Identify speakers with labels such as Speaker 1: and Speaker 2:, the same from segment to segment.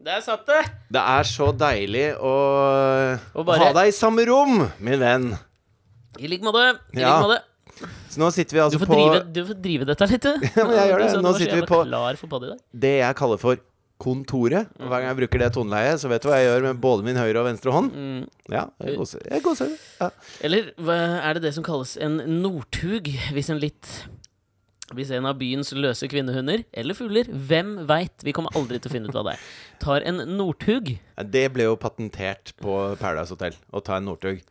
Speaker 1: Der satt det!
Speaker 2: Det er så deilig å
Speaker 1: Og bare-
Speaker 2: ha deg i samme rom, min venn.
Speaker 1: I like måte. I
Speaker 2: Ja,
Speaker 1: like måte.
Speaker 2: Så nå sitter vi
Speaker 1: Du
Speaker 2: altså
Speaker 1: får,
Speaker 2: på
Speaker 1: drive, du får drive dette litt, du.
Speaker 2: Ja, men jeg gjør
Speaker 1: Du
Speaker 2: det.
Speaker 1: sa du
Speaker 2: Nå
Speaker 1: var så
Speaker 2: sitter vi
Speaker 1: jævla
Speaker 2: på-
Speaker 1: klar for podd i dag.
Speaker 2: det jeg kaller for kontoret. Og hver gang jeg bruker det toneleiet, så vet du hva jeg gjør med både min høyre og venstre hånd.
Speaker 1: Mm.
Speaker 2: Ja, jeg koser jeg koser. Ja.
Speaker 1: Eller hva er det det som kalles en northug? Hvis en litt Hvis en av byens løse kvinnehunder, eller fugler, hvem veit, vi kommer aldri til å finne ut av det, er, tar en northug.
Speaker 2: Ja, Det ble jo patentert på Paradise Hotel, å ta en Northug.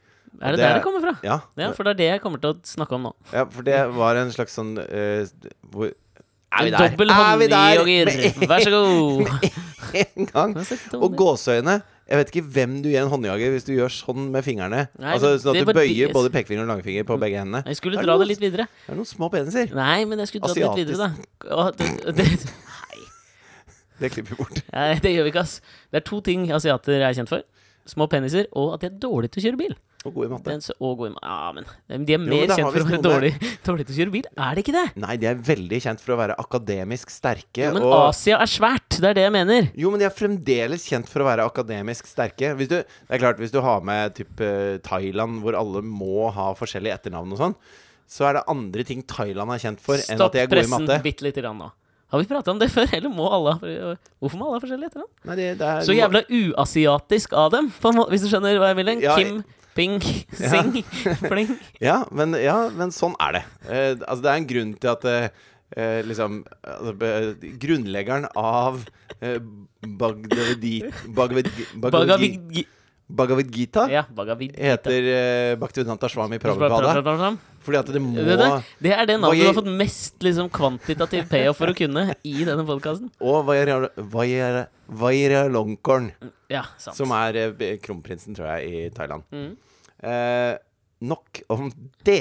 Speaker 1: Er det,
Speaker 2: Det
Speaker 1: der
Speaker 2: er-
Speaker 1: det kommer fra?
Speaker 2: Ja,
Speaker 1: Ja, for det er det jeg kommer til å snakke om nå.
Speaker 2: ja, for det var en slags sånn eh, hvor, Er vi
Speaker 1: En
Speaker 2: der?
Speaker 1: dobbel
Speaker 2: Er vi der?
Speaker 1: håndjager. Vær så god.
Speaker 2: Med en gang. Og gåseøyne. Jeg vet ikke hvem du gir en håndjager hvis du gjør sånn med fingrene.
Speaker 1: Nei,
Speaker 2: altså Sånn
Speaker 1: det
Speaker 2: at du
Speaker 1: var Mm.
Speaker 2: bøyer
Speaker 1: bias.
Speaker 2: både pekefinger og langfinger på begge hendene.
Speaker 1: Jeg skulle
Speaker 2: Er det
Speaker 1: dra
Speaker 2: noe-
Speaker 1: det litt videre.
Speaker 2: Det er noen små peniser.
Speaker 1: Nei, men jeg skulle dra det litt videre, da. Å, det- det-
Speaker 2: Det klipper vi bort.
Speaker 1: Nei, det gjør vi ikke, ass. Det er to ting asiater er kjent for. Små peniser, og at de er dårlige til å kjøre bil.
Speaker 2: Og gode i matte.
Speaker 1: Den, så, å, god, i- ja, men De er
Speaker 2: men
Speaker 1: mer
Speaker 2: det har
Speaker 1: kjent for å
Speaker 2: visst
Speaker 1: være
Speaker 2: noe med-
Speaker 1: dårlige dårlig til å kjøre bil. Er det ikke det?
Speaker 2: Nei, de er veldig kjent for å være akademisk sterke.
Speaker 1: Jo, men
Speaker 2: og...
Speaker 1: Asia er svært, det er det jeg mener.
Speaker 2: Jo, men de er fremdeles kjent for å være akademisk sterke. Hvis du, det er klart, hvis du har med typ, eh, Thailand, hvor alle må ha forskjellige etternavn og sånn, så er det andre ting Thailand er kjent for enn
Speaker 1: Stopp
Speaker 2: at de er gode i
Speaker 1: pressen
Speaker 2: matte.
Speaker 1: bitte lite grann nå. Har vi prata om det før, eller må alle ha Hvorfor må alle ha forskjellig etternavn?
Speaker 2: Nei, det, det er,
Speaker 1: Så jævla uasiatisk av dem, på en måte, hvis du skjønner hva jeg vil hen.
Speaker 2: Ja,
Speaker 1: Kim, Ping, Sing, Fling.
Speaker 2: Ja men, ja, men sånn er det. Eh, altså, det er en grunn til at eh, eh, liksom altså, be- Grunnleggeren av eh, Bhagavadi- Bhagavad- Bhagavad-
Speaker 1: Bagavid...
Speaker 2: Bhagavad Gita
Speaker 1: Ja, Bagavid.
Speaker 2: heter eh, Bhaktivedanta Swami Prabhupada.
Speaker 1: Det,
Speaker 2: Fordi at det må
Speaker 1: det, det er det navnet du
Speaker 2: Bagi-
Speaker 1: har fått mest liksom, kvantitativ payoff for å kunne i denne podkasten.
Speaker 2: Og Vaira- Vaira- Vaira Longkorn,
Speaker 1: Ja, sant.
Speaker 2: som er eh, b- kronprinsen, tror jeg, i Thailand.
Speaker 1: Mm.
Speaker 2: Eh, nok om det.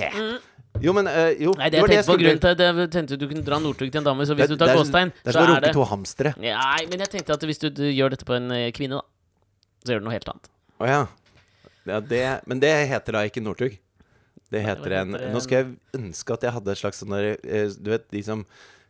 Speaker 2: Jo, men eh, jo,
Speaker 1: Mm. Nei, det jeg
Speaker 2: var
Speaker 1: tenkte på
Speaker 2: skulle-
Speaker 1: grunnen til det, jeg tenkte du kunne dra Northug til en dame, så hvis du
Speaker 2: Det-
Speaker 1: tar
Speaker 2: det er som-
Speaker 1: Gåstein,
Speaker 2: Det er
Speaker 1: så
Speaker 2: som å
Speaker 1: er
Speaker 2: runke
Speaker 1: det
Speaker 2: to hamstere.
Speaker 1: Nei, men jeg tenkte at hvis du, du gjør dette på en eh, kvinne, da, så gjør du noe helt annet.
Speaker 2: Å ja. ja det, men det heter da ikke Northug. Det heter en
Speaker 1: heter
Speaker 2: Nå skulle jeg ønske at jeg hadde et slags sånn der eh, Du vet de som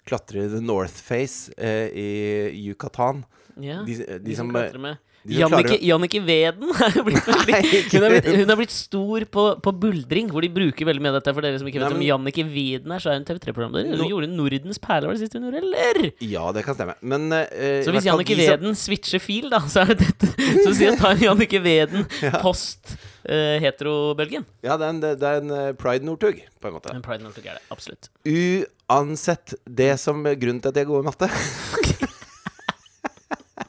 Speaker 2: klatrer i The Northface eh, i Yucatan?
Speaker 1: Ja,
Speaker 2: De, de,
Speaker 1: de
Speaker 2: som, eh,
Speaker 1: klatrer med
Speaker 2: de som klarer
Speaker 1: Jannicke,
Speaker 2: å-
Speaker 1: Jannicke Veden er jo blitt veldig
Speaker 2: Nei,
Speaker 1: hun, er blitt,
Speaker 2: ikke-
Speaker 1: hun er blitt stor på, på buldring, hvor de bruker veldig mye av dette. For dere som ikke
Speaker 2: Nei,
Speaker 1: vet om
Speaker 2: men-
Speaker 1: Jannicke Veden er, så er hun TV3-programleder. Hun
Speaker 2: No-
Speaker 1: gjorde Nordens perle, var det siste hun gjorde, eller?
Speaker 2: Ja, det kan stemme. Men eh, i
Speaker 1: Så
Speaker 2: hvert
Speaker 1: hvis
Speaker 2: fall
Speaker 1: Jannicke
Speaker 2: de som-
Speaker 1: Veden switcher fil, da, så er det dette. Så sier jeg ta en Jannicke Veden post eh, heterobølgen.
Speaker 2: Ja, det er en, det det er en eh, Pride Northug, på en måte.
Speaker 1: Men Pride Northug er det. Absolutt.
Speaker 2: Uansett det som er grunnen til at jeg er god i matte.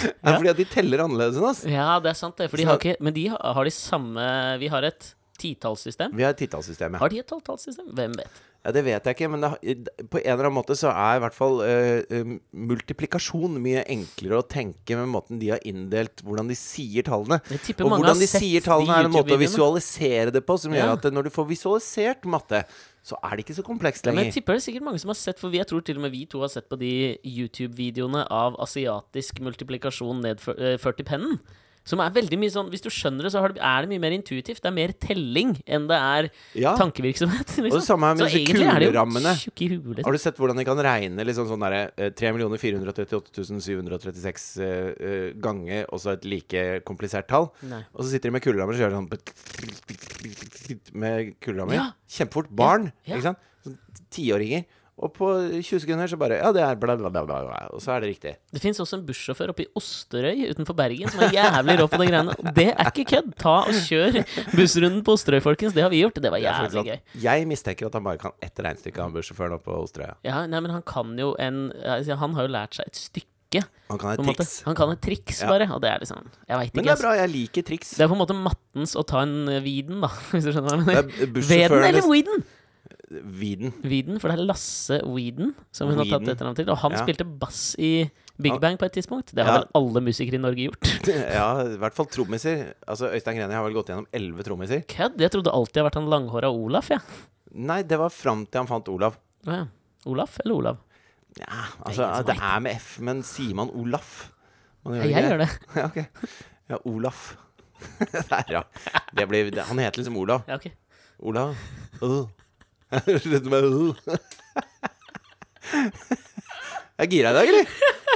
Speaker 2: Det er fordi at de teller annerledes enn oss.
Speaker 1: Ja, det er sant, det. For de
Speaker 2: Så-
Speaker 1: har ikke, men de har, har de samme Vi har et titallssystem.
Speaker 2: Vi har titallssystemet.
Speaker 1: Har de et tolvtallssystem? Hvem vet?
Speaker 2: Ja, det vet jeg ikke, men det, har- på en eller annen måte så er i hvert fall eh, eh, multiplikasjon mye enklere å tenke med måten de har inndelt hvordan de sier tallene.
Speaker 1: Jeg tipper
Speaker 2: Og
Speaker 1: mange
Speaker 2: hvordan
Speaker 1: har
Speaker 2: de
Speaker 1: sett
Speaker 2: sier tallene, er en måte å
Speaker 1: YouTube-videoene.
Speaker 2: visualisere det på, som gjør
Speaker 1: Ja.
Speaker 2: at eh, når du får visualisert matte, så er det ikke så komplekst
Speaker 1: Men jeg
Speaker 2: lenger.
Speaker 1: tipper det er sikkert mange som har sett, for vi- jeg tror til og med vi to har sett på de YouTube-videoene av asiatisk multiplikasjon nedført i pennen. Som er veldig mye sånn Hvis du skjønner det, så har det, er det mye mer intuitivt. Det er mer telling enn det er
Speaker 2: Ja.
Speaker 1: tankevirksomhet. Liksom.
Speaker 2: Ah. Og det samme er med
Speaker 1: så
Speaker 2: disse
Speaker 1: egentlig er det jo
Speaker 2: kulerammene.
Speaker 1: tjukke i huet. Liksom.
Speaker 2: Har du sett hvordan de kan regne liksom sånn derre, eh, 3 438 736 eh, eh, ganger og så et like komplisert tall?
Speaker 1: Nei.
Speaker 2: Og så sitter de med kulerammer og kjører sånn med kulerammer.
Speaker 1: Ja.
Speaker 2: Kjempefort. Barn,
Speaker 1: Ja.
Speaker 2: ikke sant? Sånn Tiåringer. Og på 20 sekunder så bare Ja, det er bla, bla, bla, bla, bla. Og så er det riktig.
Speaker 1: Det fins også en bussjåfør oppe i Osterøy utenfor Bergen som er jævlig rå på de greiene. Og det er ikke kødd! Ta og kjør bussrunden på Osterøy, folkens. Det har vi gjort. Det var
Speaker 2: Det er
Speaker 1: jævlig
Speaker 2: faktisk
Speaker 1: gøy.
Speaker 2: sant. Jeg mistenker at han bare kan ett regnestykke, han bussjåføren oppe på Osterøya.
Speaker 1: Ja, nei, men han kan jo en altså, Han har jo lært seg et stykke.
Speaker 2: Han kan
Speaker 1: På
Speaker 2: et
Speaker 1: en måte.
Speaker 2: triks.
Speaker 1: Han kan et triks,
Speaker 2: Ja.
Speaker 1: bare. Og det er liksom Jeg veit ikke.
Speaker 2: Men det er
Speaker 1: altså.
Speaker 2: bra. Jeg liker triks.
Speaker 1: Det er på en måte mattens å ta en eh, viden, da. Hvis du skjønner hva jeg mener.
Speaker 2: Det
Speaker 1: Veden
Speaker 2: er
Speaker 1: eller
Speaker 2: bussjåførenes
Speaker 1: Weeden?
Speaker 2: Viden.
Speaker 1: Weeden, for det er Lasse Weeden som hun har
Speaker 2: Weeden.
Speaker 1: tatt etternavn til. Og han
Speaker 2: Ja.
Speaker 1: spilte bass i Big
Speaker 2: Ja.
Speaker 1: Bang på et tidspunkt. Det har
Speaker 2: Ja.
Speaker 1: vel alle musikere i Norge gjort.
Speaker 2: Ja, i hvert fall trommiser. Altså, Øystein Greni har vel gått gjennom elleve trommiser.
Speaker 1: Kødd? Jeg trodde alltid jeg har vært han langhåra Olaf, jeg.
Speaker 2: Nei, det var fram til han fant Olav.
Speaker 1: Ja. ja. Olaf eller Olav?
Speaker 2: Ja, altså,
Speaker 1: ingen som
Speaker 2: det er med F, men sier man Olaf? Man
Speaker 1: Jeg, gjør det.
Speaker 2: Ja, ok. Ja, Olaf. Der, ja. Det blir, det, han heter liksom Olav.
Speaker 1: Ja, ok.
Speaker 2: Olav. Øh. Slutt med øh. Jeg er gira i dag, eller?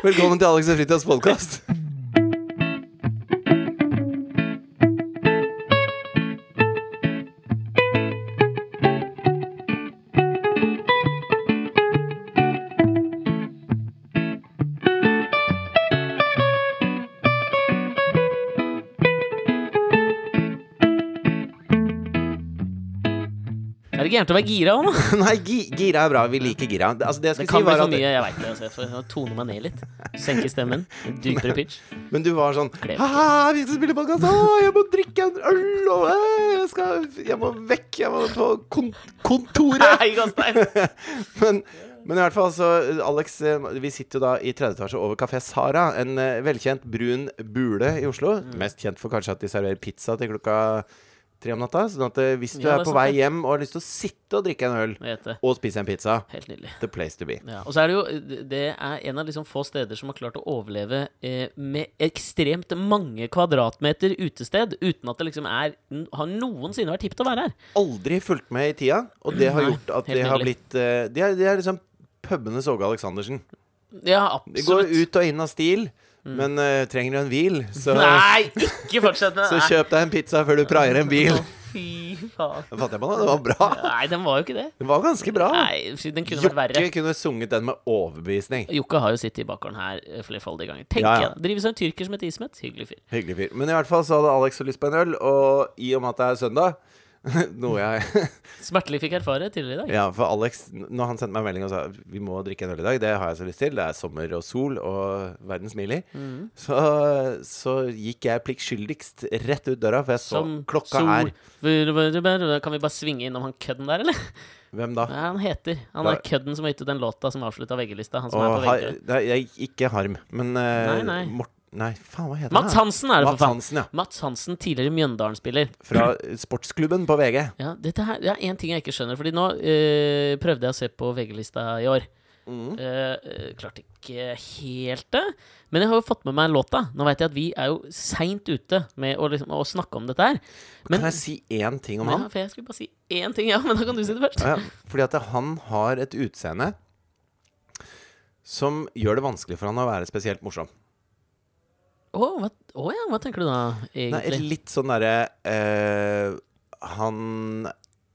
Speaker 2: Velkommen til Alex og Fritjofs podkast.
Speaker 1: Er det ikke gærent å være gira òg, nå?
Speaker 2: Nei, gi- gira er bra. Vi liker gira. Det- Altså, det
Speaker 1: Det
Speaker 2: jeg skulle
Speaker 1: kan
Speaker 2: si
Speaker 1: bli
Speaker 2: var
Speaker 1: for
Speaker 2: at,
Speaker 1: mye, jeg veit det. Altså. Jeg får tone meg ned litt. Senke stemmen. Dypere pitch.
Speaker 2: Men du var sånn
Speaker 1: Gleder meg.
Speaker 2: Haha, vi skal spille podkast! Jeg må drikke en øl! Og øh, jeg, skal, jeg må vekk! Jeg må på kon kontoret!
Speaker 1: Nei, Gastein!
Speaker 2: Men, men i hvert fall, så Alex, eh, vi sitter jo da i tredje etasje over Kafé Sara. En eh, velkjent brun bule i Oslo.
Speaker 1: Mm.
Speaker 2: Mest kjent for kanskje at de serverer pizza til klokka tre om natta. Sånn at eh, hvis du
Speaker 1: Ja,
Speaker 2: er
Speaker 1: det er
Speaker 2: på
Speaker 1: sant,
Speaker 2: vei
Speaker 1: det.
Speaker 2: hjem og har lyst til å sitte og drikke en øl
Speaker 1: Jeg vet det.
Speaker 2: og spise en pizza,
Speaker 1: Helt nydelig.
Speaker 2: the place to be.
Speaker 1: Ja, og så er det jo Det er en av liksom få steder som har klart å overleve eh, med ekstremt mange kvadratmeter utested, uten at det liksom er n- Har noensinne vært hipt å være her.
Speaker 2: Aldri fulgt med i tida, og det har
Speaker 1: Nei,
Speaker 2: gjort at
Speaker 1: helt
Speaker 2: det har
Speaker 1: nydelig.
Speaker 2: blitt eh, De er, de er liksom pubenes Åge Aleksandersen.
Speaker 1: Ja,
Speaker 2: Det går
Speaker 1: absolutt.
Speaker 2: ut og inn av stil, men eh, trenger du en hvil, så,
Speaker 1: Mm. Nei, ikke fortsett med
Speaker 2: så
Speaker 1: det!
Speaker 2: kjøp deg en pizza før du praier en bil.
Speaker 1: Å, Fy faen.
Speaker 2: Da Fatter jeg på nå, det var bra.
Speaker 1: Nei, den var jo ikke det.
Speaker 2: Det var ganske bra.
Speaker 1: Nei, fy, den kunne vært verre.
Speaker 2: Jokke kunne sunget den med overbevisning.
Speaker 1: Jokke har jo sittet i bakgården her eh, flerfoldige ganger. Tenk
Speaker 2: Ja,
Speaker 1: ja,
Speaker 2: ja.
Speaker 1: Drives av en tyrker som heter Ismet. Hyggelig fyr.
Speaker 2: Hyggelig fyr. Men i hvert fall så hadde Alex så lyst på en øl, og i og med at det er søndag Noe jeg
Speaker 1: Smertelig fikk erfare tidligere i dag.
Speaker 2: Ja, for Alex, når han sendte meg en melding og sa vi må drikke en øl i dag, det har jeg så lyst til, det er sommer og sol og verden smiler,
Speaker 1: Mm.
Speaker 2: så, så gikk jeg pliktskyldigst rett ut døra, for jeg så
Speaker 1: Som
Speaker 2: klokka
Speaker 1: sol-
Speaker 2: er
Speaker 1: Kan vi bare svinge innom han kødden der, eller?
Speaker 2: Hvem da?
Speaker 1: Nei, han heter Han
Speaker 2: Da-
Speaker 1: er kødden som har gitt ut den låta som avslutta VG-lista. Han som er
Speaker 2: Og
Speaker 1: på
Speaker 2: har,
Speaker 1: VG.
Speaker 2: nei, jeg, ikke Harm, men
Speaker 1: Nei,
Speaker 2: eh,
Speaker 1: nei.
Speaker 2: Mort, nei, faen, hva heter
Speaker 1: Mats
Speaker 2: han?
Speaker 1: Hansen er det,
Speaker 2: Mats
Speaker 1: for faen.
Speaker 2: Hansen, ja.
Speaker 1: Mats Hansen, tidligere Mjøndalen-spiller.
Speaker 2: Fra sportsklubben på VG.
Speaker 1: Ja, dette her det er én ting jeg ikke skjønner, Fordi nå eh, prøvde jeg å se på VG-lista i år.
Speaker 2: Mm.
Speaker 1: Eh, eh, klarte ikke helt det. Men jeg har jo fått med meg låta. Nå veit jeg at vi er jo seint ute med å, liksom, å snakke om dette her.
Speaker 2: kan jeg si én ting om
Speaker 1: ja,
Speaker 2: han?
Speaker 1: for jeg skulle bare si én ting, ja, men da kan du si det først.
Speaker 2: Ja, fordi at han har et utseende som gjør det vanskelig for han å være spesielt morsom.
Speaker 1: Å hva, å ja, hva tenker du da,
Speaker 2: Nei, et
Speaker 1: egentlig?
Speaker 2: litt sånn derre eh, Han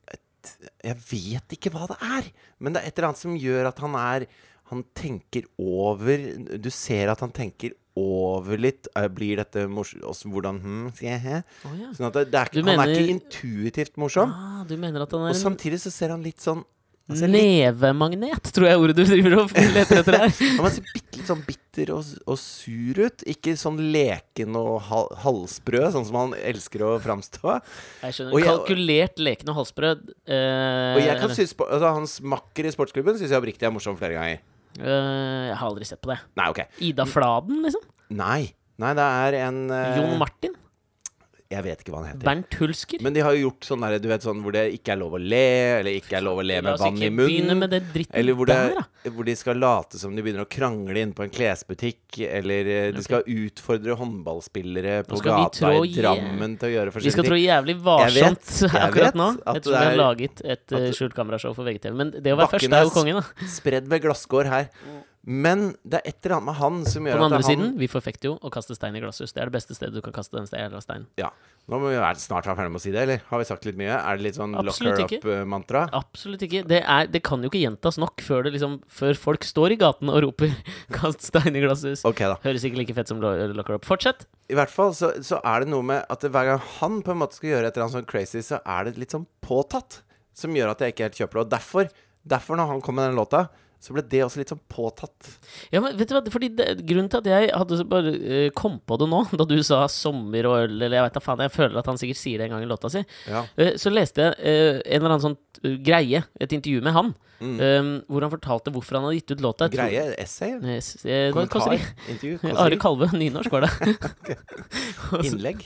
Speaker 2: et- Jeg vet ikke hva det er, men det er et eller annet som gjør at han er Han tenker over Du ser at han tenker over litt. eh, Blir dette morsomt? Hvordan hm, skal jeg he?
Speaker 1: Å ja.
Speaker 2: Sånn at det, det er
Speaker 1: Du
Speaker 2: ikke, Han er ikke
Speaker 1: mener-
Speaker 2: intuitivt morsom.
Speaker 1: ah, du mener at han
Speaker 2: Og
Speaker 1: er en
Speaker 2: samtidig så ser han litt sånn han
Speaker 1: Altså,
Speaker 2: ser litt,
Speaker 1: Nevemagnet, tror jeg er ordet du driver og leter etter her.
Speaker 2: ja, men han ser bitte litt sånn bitter og, og sur ut. Ikke sånn leken og hal halsbrød, sånn som han elsker å framstå.
Speaker 1: Jeg
Speaker 2: Og
Speaker 1: skjønner.
Speaker 2: jeg-
Speaker 1: Kalkulert lekende halsbrød. eh,
Speaker 2: Og jeg kan synes, på- altså, Hans makker i sportsklubben syns jeg oppriktig er morsom flere ganger.
Speaker 1: eh, Jeg har aldri sett på det.
Speaker 2: Nei, ok.
Speaker 1: Ida Fladen, liksom.
Speaker 2: Nei. Nei, det er en Mm. eh,
Speaker 1: Jon Martin.
Speaker 2: Jeg vet ikke hva han heter.
Speaker 1: Bernt Hulsker.
Speaker 2: Men de har jo gjort sånn der, du vet, sånn hvor det ikke er lov å le, eller ikke er lov å
Speaker 1: La
Speaker 2: le med
Speaker 1: oss
Speaker 2: vann i
Speaker 1: ikke begynne
Speaker 2: munnen.
Speaker 1: med det dritten
Speaker 2: Eller hvor,
Speaker 1: der,
Speaker 2: det,
Speaker 1: da.
Speaker 2: hvor de skal late som de begynner å krangle inn på en klesbutikk, eller eh, de skal utfordre håndballspillere på
Speaker 1: Nå skal vi
Speaker 2: gata
Speaker 1: trå
Speaker 2: i
Speaker 1: i-
Speaker 2: Drammen til å
Speaker 1: Vi
Speaker 2: gjøre
Speaker 1: skal
Speaker 2: forskjellige
Speaker 1: trå
Speaker 2: ting.
Speaker 1: jævlig varsomt
Speaker 2: Jeg vet- jeg
Speaker 1: akkurat
Speaker 2: vet
Speaker 1: nå. Ettersom
Speaker 2: at det
Speaker 1: vi har
Speaker 2: er-
Speaker 1: laget et
Speaker 2: at-
Speaker 1: eh, skjult kamerashow for VGTV. Men det å være
Speaker 2: Bakken
Speaker 1: først er jo
Speaker 2: er-
Speaker 1: kongen, da.
Speaker 2: Spredd med glasskår her. Men det er et eller annet med han som
Speaker 1: På
Speaker 2: gjør
Speaker 1: den
Speaker 2: at
Speaker 1: andre
Speaker 2: han
Speaker 1: siden, vi forfekter jo å kaste stein i glasshus. Det er det beste stedet du kan kaste en stein. jævla stein.
Speaker 2: Ja. Nå må vi være snart være ferdig med å si det, eller? Har vi sagt litt mye? Er det litt sånn lock
Speaker 1: Absolutt
Speaker 2: her
Speaker 1: ikke.
Speaker 2: up-mantra?
Speaker 1: Absolutt ikke. Det, er, det kan jo ikke gjentas nok før, det liksom, før folk står i gaten og roper 'kast stein i glasshus'.
Speaker 2: Ok, da.
Speaker 1: Høres ikke like fett som lo- Locker Up. Fortsett.
Speaker 2: I hvert fall så, så er det noe med at hver gang han på en måte skal gjøre et eller annet sånn crazy, så er det litt sånn påtatt. Som gjør at jeg ikke helt kjøper det. Og derfor, derfor når han kom med den låta, så ble det også litt sånn påtatt.
Speaker 1: Ja, men vet du hva? Fordi det, grunnen til at jeg hadde så bare eh, kom på det nå, da du sa sommer og øl, eller jeg veit da faen, jeg føler at han sikkert sier det en gang i låta si,
Speaker 2: Ja.
Speaker 1: eh, så leste jeg eh, en eller annen sånn eh, greie, et intervju med han, eh, hvor han fortalte hvorfor han hadde gitt ut låta. Jeg tror-
Speaker 2: Mm. Greie essay?
Speaker 1: Eh, s- eh, det
Speaker 2: Kommentar?
Speaker 1: koster ikke.
Speaker 2: Intervju?
Speaker 1: Are
Speaker 2: Kåseri?
Speaker 1: Kalve, nynorsk var det. Og så-
Speaker 2: Innlegg?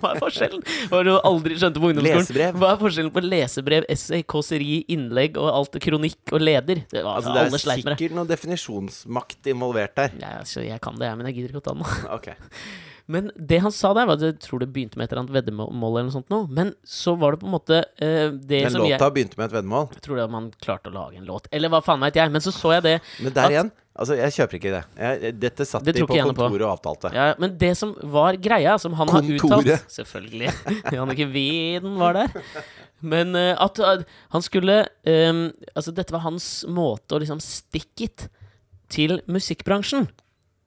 Speaker 1: Hva er forskjellen? Hva er det du aldri skjønte på ungdomsskolen?
Speaker 2: Lesebrev?
Speaker 1: Hva er forskjellen på lesebrev, essay, kåseri, innlegg og alt kronikk og leder? Det var
Speaker 2: Altså, det
Speaker 1: alle
Speaker 2: er
Speaker 1: sleit med det.
Speaker 2: sikkert noe definisjonsmakt involvert der.
Speaker 1: Ja, altså, jeg kan det, jeg, men jeg gidder ikke å ta den nå.
Speaker 2: Ok.
Speaker 1: Men det han sa der, var at jeg tror det begynte med et eller annet veddemål eller noe sånt nå. Men så var det på en måte eh, det
Speaker 2: Den
Speaker 1: som jeg
Speaker 2: låta begynte med et veddemål.
Speaker 1: Jeg tror det var man klarte å lage en låt, eller hva faen veit jeg. Men så så jeg det.
Speaker 2: Men
Speaker 1: At-
Speaker 2: der igjen, Altså, jeg kjøper ikke det. Jeg, dette satt
Speaker 1: Det
Speaker 2: de
Speaker 1: tror
Speaker 2: på
Speaker 1: ikke jeg noe på.
Speaker 2: kontoret og avtalte.
Speaker 1: Ja, men det som var greia, som han har uttalt
Speaker 2: Kontoret.
Speaker 1: Selvfølgelig. Jannicke Weden var der. Men eh, at eh, han skulle eh, Altså, dette var hans måte å liksom stick it til musikkbransjen.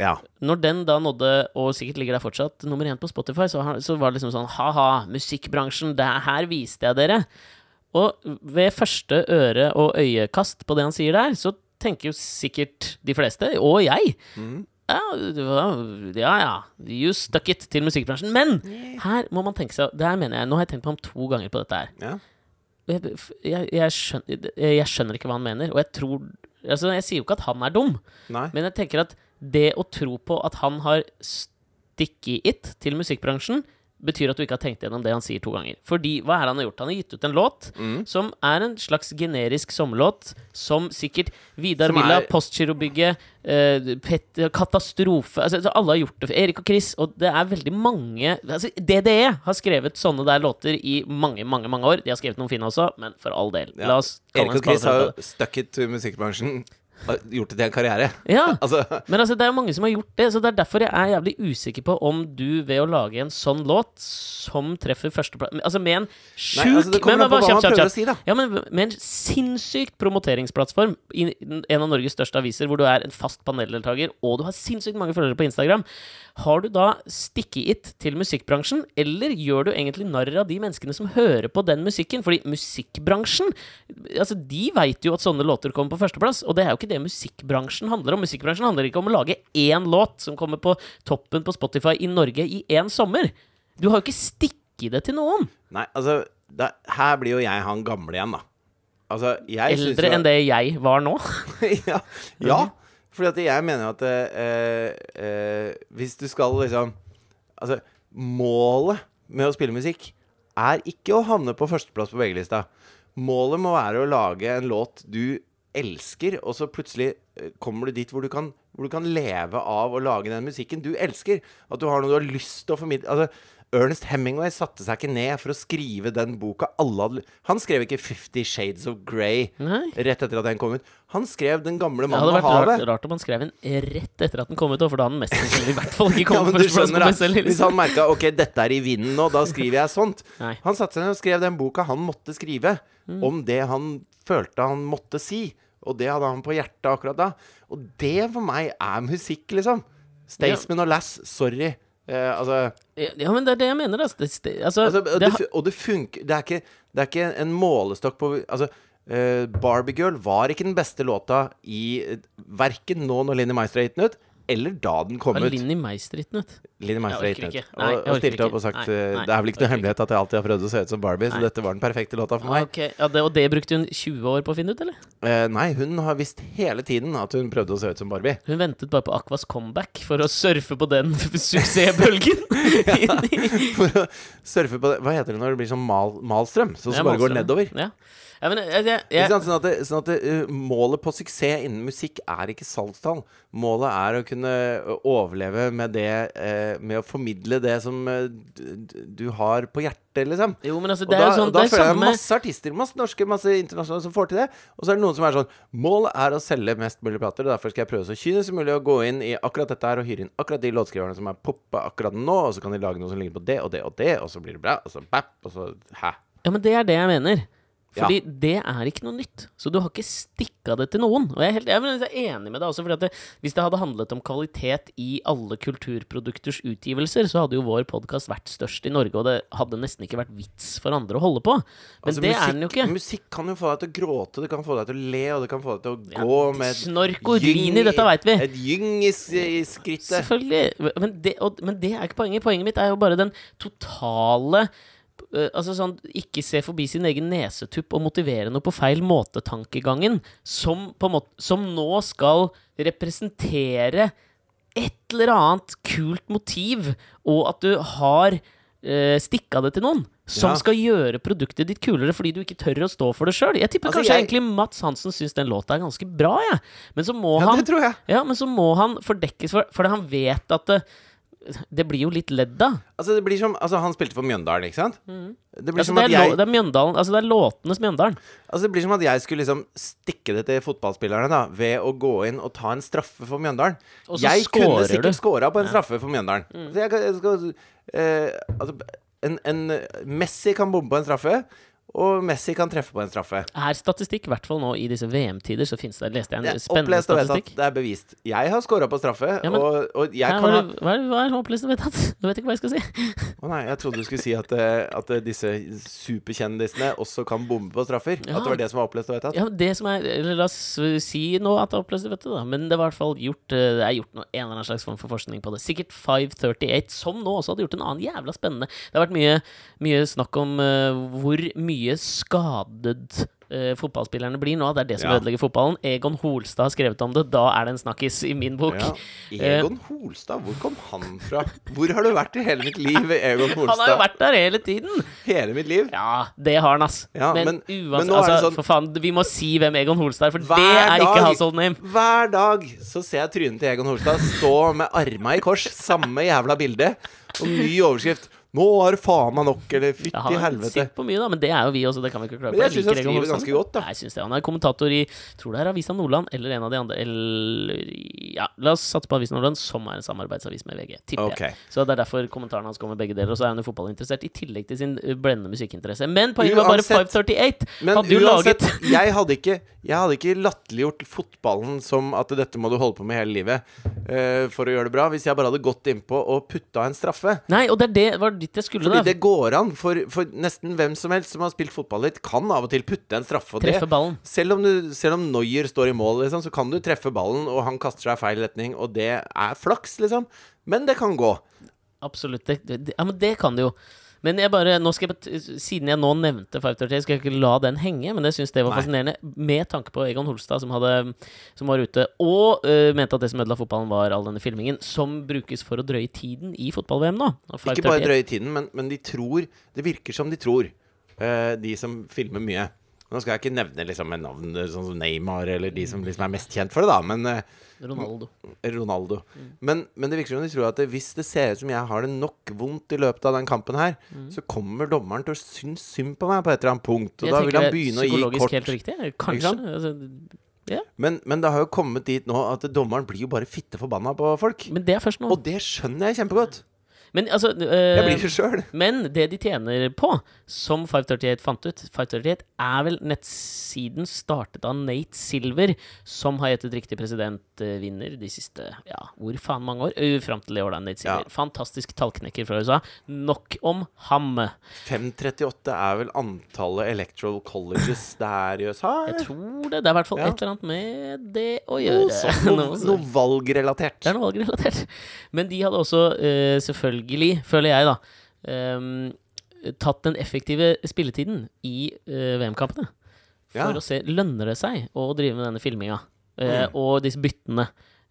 Speaker 2: Ja.
Speaker 1: Når den da nådde, og sikkert ligger der fortsatt, nummer én på Spotify, så, har- så var det liksom sånn Ha-ha, musikkbransjen, det er her viste jeg dere. Og ved første øre- og øyekast på det han sier der, så tenker jo sikkert de fleste, og jeg ja, det var- ja, ja, you stuck it til musikkbransjen. Men her må man tenke seg Det her mener jeg, Nå har jeg tenkt på ham to ganger på dette her.
Speaker 2: ja.
Speaker 1: Og Jeg, jeg, jeg, skjønner, jeg skjønner ikke hva han mener, og jeg tror Altså, jeg sier jo ikke at han er dum.
Speaker 2: Nei.
Speaker 1: Men jeg tenker at det å tro på at han har sticky it til musikkbransjen, betyr at du ikke har tenkt gjennom det han sier to ganger. Fordi hva er det han har gjort? Han har gitt ut en låt
Speaker 2: Mm.
Speaker 1: som er en slags generisk sommerlåt, som sikkert Vidar
Speaker 2: Som
Speaker 1: Villa,
Speaker 2: er-
Speaker 1: Postgirobygget, eh, Pet- Katastrofe altså, altså, Alle har gjort det. Erik og Chris. Og det er veldig mange altså, DDE har skrevet sånne der låter i mange, mange mange år. De har skrevet noen fine også, men for all del.
Speaker 2: Ja.
Speaker 1: La oss kalle
Speaker 2: Erik
Speaker 1: en
Speaker 2: og Chris
Speaker 1: spade
Speaker 2: har
Speaker 1: for en spade.
Speaker 2: jo stuck it to musikkbransjen. Har Gjort det til en karriere.
Speaker 1: Ja.
Speaker 2: Altså
Speaker 1: Men altså, det er jo mange som har gjort det, så det er derfor jeg er jævlig usikker på om du ved å lage en sånn låt som treffer førsteplass Altså med en sjuk
Speaker 2: Nei, altså, det kommer
Speaker 1: men-
Speaker 2: an
Speaker 1: men-
Speaker 2: på hva man
Speaker 1: kjapt, kjapt,
Speaker 2: prøver å
Speaker 1: kjapt.
Speaker 2: si, da.
Speaker 1: Ja, men med en sinnssykt promoteringsplattform i en av Norges største aviser, hvor du er en fast paneldeltaker, og du har sinnssykt mange følgere på Instagram, har du da sticky it til musikkbransjen, eller gjør du egentlig narr av de menneskene som hører på den musikken? Fordi musikkbransjen, altså de veit jo at sånne låter kommer på førsteplass, og det er jo ikke det musikkbransjen handler om. Musikkbransjen handler ikke om å lage én låt som kommer på toppen på Spotify i Norge i én sommer. Du har jo ikke stikket det til noen,
Speaker 2: Nei, altså da, Her blir jo jeg han gamle igjen, da. Altså, jeg syns
Speaker 1: eldre
Speaker 2: jo-
Speaker 1: enn det Mhm. jeg var nå.
Speaker 2: ja, ja. Fordi at jeg mener at eh, eh, hvis du skal liksom Altså, målet med å spille musikk er ikke å havne på førsteplass på VG-lista. Målet må være å lage en låt du elsker, og så plutselig eh, kommer du dit hvor du, kan, hvor du kan leve av å lage den musikken du elsker. At du har noe du har lyst til å formidle. Altså, Ernest Hemingway satte seg ikke ned for å skrive den boka alle hadde Han skrev ikke 'Fifty Shades of Grey'
Speaker 1: Nei.
Speaker 2: rett etter at den kom ut. Han skrev 'Den
Speaker 1: Det
Speaker 2: gamle mannen
Speaker 1: hadde
Speaker 2: og
Speaker 1: vært rart,
Speaker 2: havet'.
Speaker 1: rart om han skrev en rett etter at den kom ut, da, for da hadde han mest sannsynlig i hvert fall ikke
Speaker 2: Ja,
Speaker 1: kommet
Speaker 2: men du
Speaker 1: førsteplass på
Speaker 2: skjønner
Speaker 1: best
Speaker 2: da.
Speaker 1: selger.
Speaker 2: Hvis han merka 'ok, dette er i vinden nå', da skriver jeg sånt.
Speaker 1: Nei. Mm.
Speaker 2: Han satte seg ned og skrev den boka han måtte skrive, om det han følte han måtte si. Og det hadde han på hjertet akkurat da. Og det for meg er musikk, liksom. Staysman og Lass, sorry. Eh, altså
Speaker 1: Ja, men det er det jeg mener, altså. Det, det, altså,
Speaker 2: Altså, og
Speaker 1: det,
Speaker 2: det,
Speaker 1: har-
Speaker 2: fu- og det funker det er, ikke, det er ikke en målestokk på Altså, eh, Barbie Girl var ikke den beste låta i eh, Verken nå når Linni Meister har gitt den ut, eller da den kom
Speaker 1: har
Speaker 2: ut.
Speaker 1: Linni Meister gitt den ut?
Speaker 2: Linni Meister har
Speaker 1: Jeg
Speaker 2: gitt den
Speaker 1: orker
Speaker 2: ut.
Speaker 1: ikke. Nei, jeg
Speaker 2: og, og
Speaker 1: orker
Speaker 2: stilte
Speaker 1: ikke.
Speaker 2: opp og sagt
Speaker 1: Nei,
Speaker 2: eh,
Speaker 1: nei,
Speaker 2: Det er vel ikke
Speaker 1: orker
Speaker 2: noe hemmelighet at jeg alltid har prøvd å se ut som Barbie,
Speaker 1: Nei.
Speaker 2: så dette var den perfekte låta for meg.
Speaker 1: Ok, ja, det, Og det brukte hun 20 år på å finne ut, eller?
Speaker 2: Eh, nei, hun har visst hele tiden at hun prøvde å se ut som Barbie.
Speaker 1: Hun ventet bare på Aquas comeback for å surfe på den suksessbølgen.
Speaker 2: For å surfe på det Hva heter det når det blir sånn mal, malstrøm? Sånn som bare går nedover?
Speaker 1: Ja. ja, men eh, jeg, jeg,
Speaker 2: Ikke
Speaker 1: jeg,
Speaker 2: sant? Sånn at, det, sånn at det, uh, målet på suksess innen musikk er ikke salgstall. Målet er å kunne uh, overleve med det eh, Med å formidle det som eh, d- d- du har på hjertet, liksom.
Speaker 1: jo, men altså,
Speaker 2: Og
Speaker 1: det
Speaker 2: da,
Speaker 1: er jo sånn
Speaker 2: og da
Speaker 1: det er
Speaker 2: føler jeg
Speaker 1: samme
Speaker 2: masse artister, masse norske, masse internasjonale som får til det. Og så er det noen som er sånn Målet er å selge mest mulig plater, og derfor skal jeg prøve så kynisk som mulig å gå inn i akkurat dette her og hyre inn akkurat de låtskriverne som er poppa akkurat nå, og så kan de lage noe som ligner på det og det og det, og så blir det bra, og så bap, og så hæ.
Speaker 1: Ja, men det er det jeg mener.
Speaker 2: Ja.
Speaker 1: Fordi det er ikke noe nytt. Så du har ikke stikka det til noen. Og jeg er, helt, jeg er enig med deg også, fordi at det, hvis det hadde handlet om kvalitet i alle kulturprodukters utgivelser, så hadde jo vår podkast vært størst i Norge, og det hadde nesten ikke vært vits for andre å holde på. Men
Speaker 2: Altså,
Speaker 1: det
Speaker 2: musikk,
Speaker 1: er den jo ikke.
Speaker 2: Musikk kan jo få deg til å gråte, det kan få deg til å le, og det kan få deg til å gå med et
Speaker 1: Snork og
Speaker 2: gyng eh,
Speaker 1: rini,
Speaker 2: i-
Speaker 1: dette veit vi.
Speaker 2: Et gyng i, s- i skrittet.
Speaker 1: Selvfølgelig. Men det, og, men det er ikke poenget. Poenget mitt er jo bare den totale eh, Altså sånn ikke se forbi sin egen nesetupp og motivere noe på feil måte-tankegangen, som, på en måte, som nå skal representere et eller annet kult motiv, og at du har eh, stikka det til noen. Som
Speaker 2: Ja.
Speaker 1: skal gjøre produktet ditt kulere fordi du ikke tør å stå for det sjøl. Jeg tipper
Speaker 2: Altså,
Speaker 1: kanskje
Speaker 2: jeg-
Speaker 1: egentlig Mats Hansen syns den låta er ganske bra, jeg. Men så må
Speaker 2: Ja,
Speaker 1: han
Speaker 2: det tror jeg.
Speaker 1: ja, men så må han fordekkes for For han vet at eh, Det blir jo litt ledd da.
Speaker 2: Altså, det blir som Altså, han spilte for Mjøndalen, ikke sant? Det blir
Speaker 1: Altså,
Speaker 2: som
Speaker 1: det, er
Speaker 2: at
Speaker 1: lå-
Speaker 2: jeg
Speaker 1: det er Mjøndalen Altså, det er låtenes Mjøndalen.
Speaker 2: Altså Det blir som at jeg skulle liksom stikke det til fotballspillerne da ved å gå inn og ta en straffe for Mjøndalen.
Speaker 1: Og så
Speaker 2: Jeg
Speaker 1: scorer
Speaker 2: kunne
Speaker 1: du. Mm.
Speaker 2: sikkert scora på en straffe for Mjøndalen. Så jeg, kan- jeg skal, eh, altså, en, en Messi kan bombe på en straffe, og Messi kan treffe på en straffe.
Speaker 1: Er statistikk, i hvert fall nå i disse VM-tider, så finnes det Leste jeg en
Speaker 2: Jeg
Speaker 1: spennende
Speaker 2: opplest og vedtatt.
Speaker 1: statistikk?
Speaker 2: Det er bevist. Jeg har scora på straffe,
Speaker 1: Ja, men-
Speaker 2: og, og jeg
Speaker 1: Hæ,
Speaker 2: kan
Speaker 1: hva,
Speaker 2: ha
Speaker 1: er det- hva, er- hva er opplest og vedtatt? Du vet ikke hva jeg skal si.
Speaker 2: Å nei, jeg trodde du skulle si at, eh, at eh, disse superkjendisene også kan bombe på straffer.
Speaker 1: Ja.
Speaker 2: At det var det som var opplest og vedtatt.
Speaker 1: Ja, men det som er Eller la oss si nå at det er opplest og vedtatt, da. Men det var i hvert fall gjort eh, Det er gjort noe, en eller annen slags form for forskning på det. Sikkert 538, som nå også hadde gjort en annen jævla spennende Det har vært mye, mye snakk om eh, hvor mye skadet eh, fotballspillerne blir nå. Det er det som
Speaker 2: Ja.
Speaker 1: ødelegger fotballen. Egon Holstad har skrevet om det. Da er det en snakkis i min bok.
Speaker 2: Ja.
Speaker 1: Eh,
Speaker 2: Egon Holstad, hvor kom han fra? Hvor har du vært i hele mitt liv, Egon
Speaker 1: Han
Speaker 2: Holstad?
Speaker 1: har jo vært der hele tiden!
Speaker 2: Hele mitt liv?
Speaker 1: Ja, det har han, ass.
Speaker 2: Ja,
Speaker 1: men,
Speaker 2: men-
Speaker 1: uansett,
Speaker 2: men nå er det
Speaker 1: altså,
Speaker 2: sånn-
Speaker 1: for faen, vi må si hvem Egon Holstad er, for det
Speaker 2: Hver
Speaker 1: er ikke
Speaker 2: dag-
Speaker 1: household name.
Speaker 2: Hver dag så ser jeg trynet til Egon Holstad stå med arma i kors, samme jævla bilde, og ny overskrift. Nå er det faen meg nok, eller
Speaker 1: Ja,
Speaker 2: fytti
Speaker 1: han
Speaker 2: helvete.
Speaker 1: sitter på mye, da, men det er jo vi også, det kan vi ikke klare
Speaker 2: Men
Speaker 1: på.
Speaker 2: jeg syns han
Speaker 1: liker Egon
Speaker 2: skriver
Speaker 1: Holstad.
Speaker 2: ganske godt, da.
Speaker 1: Nei, Jeg synes det. Han er kommentator i tror det er Avisa Nordland eller en av de andre. Eller ja, la oss satse på Avisa Nordland, som er en samarbeidsavis med VG. Tipper
Speaker 2: Ok.
Speaker 1: jeg. Så det er derfor kommentaren hans kommer begge deler. Og så er han jo fotballinteressert, i tillegg til sin ø, blendende musikkinteresse. Men poenget var bare
Speaker 2: Uansett-
Speaker 1: 538!
Speaker 2: Men
Speaker 1: Hadde jo
Speaker 2: uansett,
Speaker 1: laget
Speaker 2: jeg hadde ikke, jeg hadde ikke latterliggjort fotballen som at dette må du holde på med hele livet eh, for å gjøre det bra, hvis jeg bare hadde gått innpå og putta en straffe.
Speaker 1: Nei, og det er det var dit jeg skulle,
Speaker 2: Fordi
Speaker 1: da.
Speaker 2: det går an, for, for nesten hvem som helst som har spilt fotball litt, kan av og til putte en straffe. Og det,
Speaker 1: Treffe ballen.
Speaker 2: selv om, du, selv om Neuer står i mål, liksom, så kan du treffe ballen, og han kaster seg i feil retning, og det er flaks, liksom. Men det kan gå.
Speaker 1: Absolutt. Det, det, ja, men det kan det jo. Men jeg bare, nå skal jeg, bare- siden jeg nå nevnte 538, skal jeg ikke la den henge. Men jeg syns det var
Speaker 2: Nei.
Speaker 1: fascinerende, med tanke på Egon Holstad, som, hadde, som var ute og øh, mente at det som ødela fotballen, var all denne filmingen, som brukes for å drøye tiden i fotball-VM nå. Og
Speaker 2: Ikke bare
Speaker 1: 538
Speaker 2: drøye tiden, men, men de tror Det virker som de tror, eh, de som filmer mye. Nå skal jeg ikke nevne liksom, med navn eh, sånn som Neymar, eller de som liksom er mest kjent for det, da, men eh,
Speaker 1: Ronaldo.
Speaker 2: Ronaldo.
Speaker 1: Mm.
Speaker 2: Men, men det virker som de tror at det, hvis det ser ut som jeg har det nok vondt i løpet av den kampen her,
Speaker 1: Mm.
Speaker 2: så kommer dommeren til å synes synd på meg på et eller annet punkt. Og
Speaker 1: Jeg
Speaker 2: da
Speaker 1: tenker
Speaker 2: vil han
Speaker 1: det er
Speaker 2: begynne å gi
Speaker 1: psykologisk
Speaker 2: kort.
Speaker 1: Helt riktig. Kanskje.
Speaker 2: sant?
Speaker 1: Altså, ja.
Speaker 2: Men, men det har jo kommet dit nå at dommeren blir jo bare fitte forbanna på folk.
Speaker 1: Men det er først nå.
Speaker 2: Og det skjønner jeg kjempegodt.
Speaker 1: Men altså øh,
Speaker 2: Jeg blir det sjøl.
Speaker 1: Men det de tjener på, som 538 fant ut 538 er vel nettsiden startet av Nate Silver, som har gjettet riktig presidentvinner de siste ja, hvor faen mange år? Ø, Fram til i år, da. Nate Silver.
Speaker 2: Ja.
Speaker 1: Fantastisk tallknekker fra USA. Nok om ham.
Speaker 2: 538 er vel antallet electoral colleges det er i USA?
Speaker 1: Jeg tror det. Det er i hvert fall
Speaker 2: Ja.
Speaker 1: et eller annet med det å
Speaker 2: Noe
Speaker 1: gjøre. Noe
Speaker 2: sånt, Sånn, noe,
Speaker 1: sånt.
Speaker 2: noe valgrelatert.
Speaker 1: Det er noe valgrelatert. Men de hadde også, eh, selvfølgelig, føler jeg, da, ehm, tatt den effektive spilletiden i eh, VM-kampene. For
Speaker 2: Ja.
Speaker 1: å se lønner det seg å drive med denne filminga eh,
Speaker 2: Mm.
Speaker 1: og disse byttene.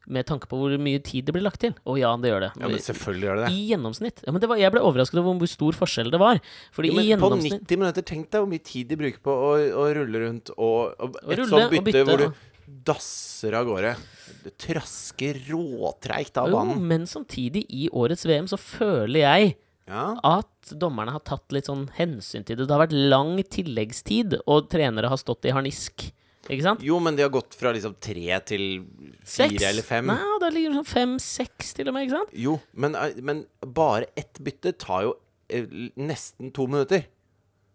Speaker 1: Med tanke på hvor mye tid det blir lagt til. Og ja, det gjør det.
Speaker 2: Ja, men selvfølgelig gjør det det.
Speaker 1: I gjennomsnitt. Ja, men det var, jeg ble overrasket over hvor stor forskjell det var. Fordi
Speaker 2: Jo, men
Speaker 1: i
Speaker 2: på
Speaker 1: gjennomsnitt
Speaker 2: 90 minutter, tenk deg hvor mye tid de bruker på å, å rulle rundt og, og et
Speaker 1: rulle
Speaker 2: sånt
Speaker 1: og
Speaker 2: bytte,
Speaker 1: bytte,
Speaker 2: hvor
Speaker 1: ja.
Speaker 2: du dasser av gårde. Du trasker råtreigt av
Speaker 1: Jo,
Speaker 2: banen.
Speaker 1: men samtidig, i årets VM, så føler jeg
Speaker 2: Ja.
Speaker 1: at dommerne har tatt litt sånn hensyn til det. Det har vært lang tilleggstid, og trenere har stått i harnisk. Ikke sant?
Speaker 2: Jo, men de har gått fra liksom tre til fire
Speaker 1: Seks.
Speaker 2: eller fem.
Speaker 1: Nei, det ligger sånn fem-seks, til og med. ikke sant?
Speaker 2: Jo, men, eh, men bare ett bytte tar jo eh, nesten to minutter.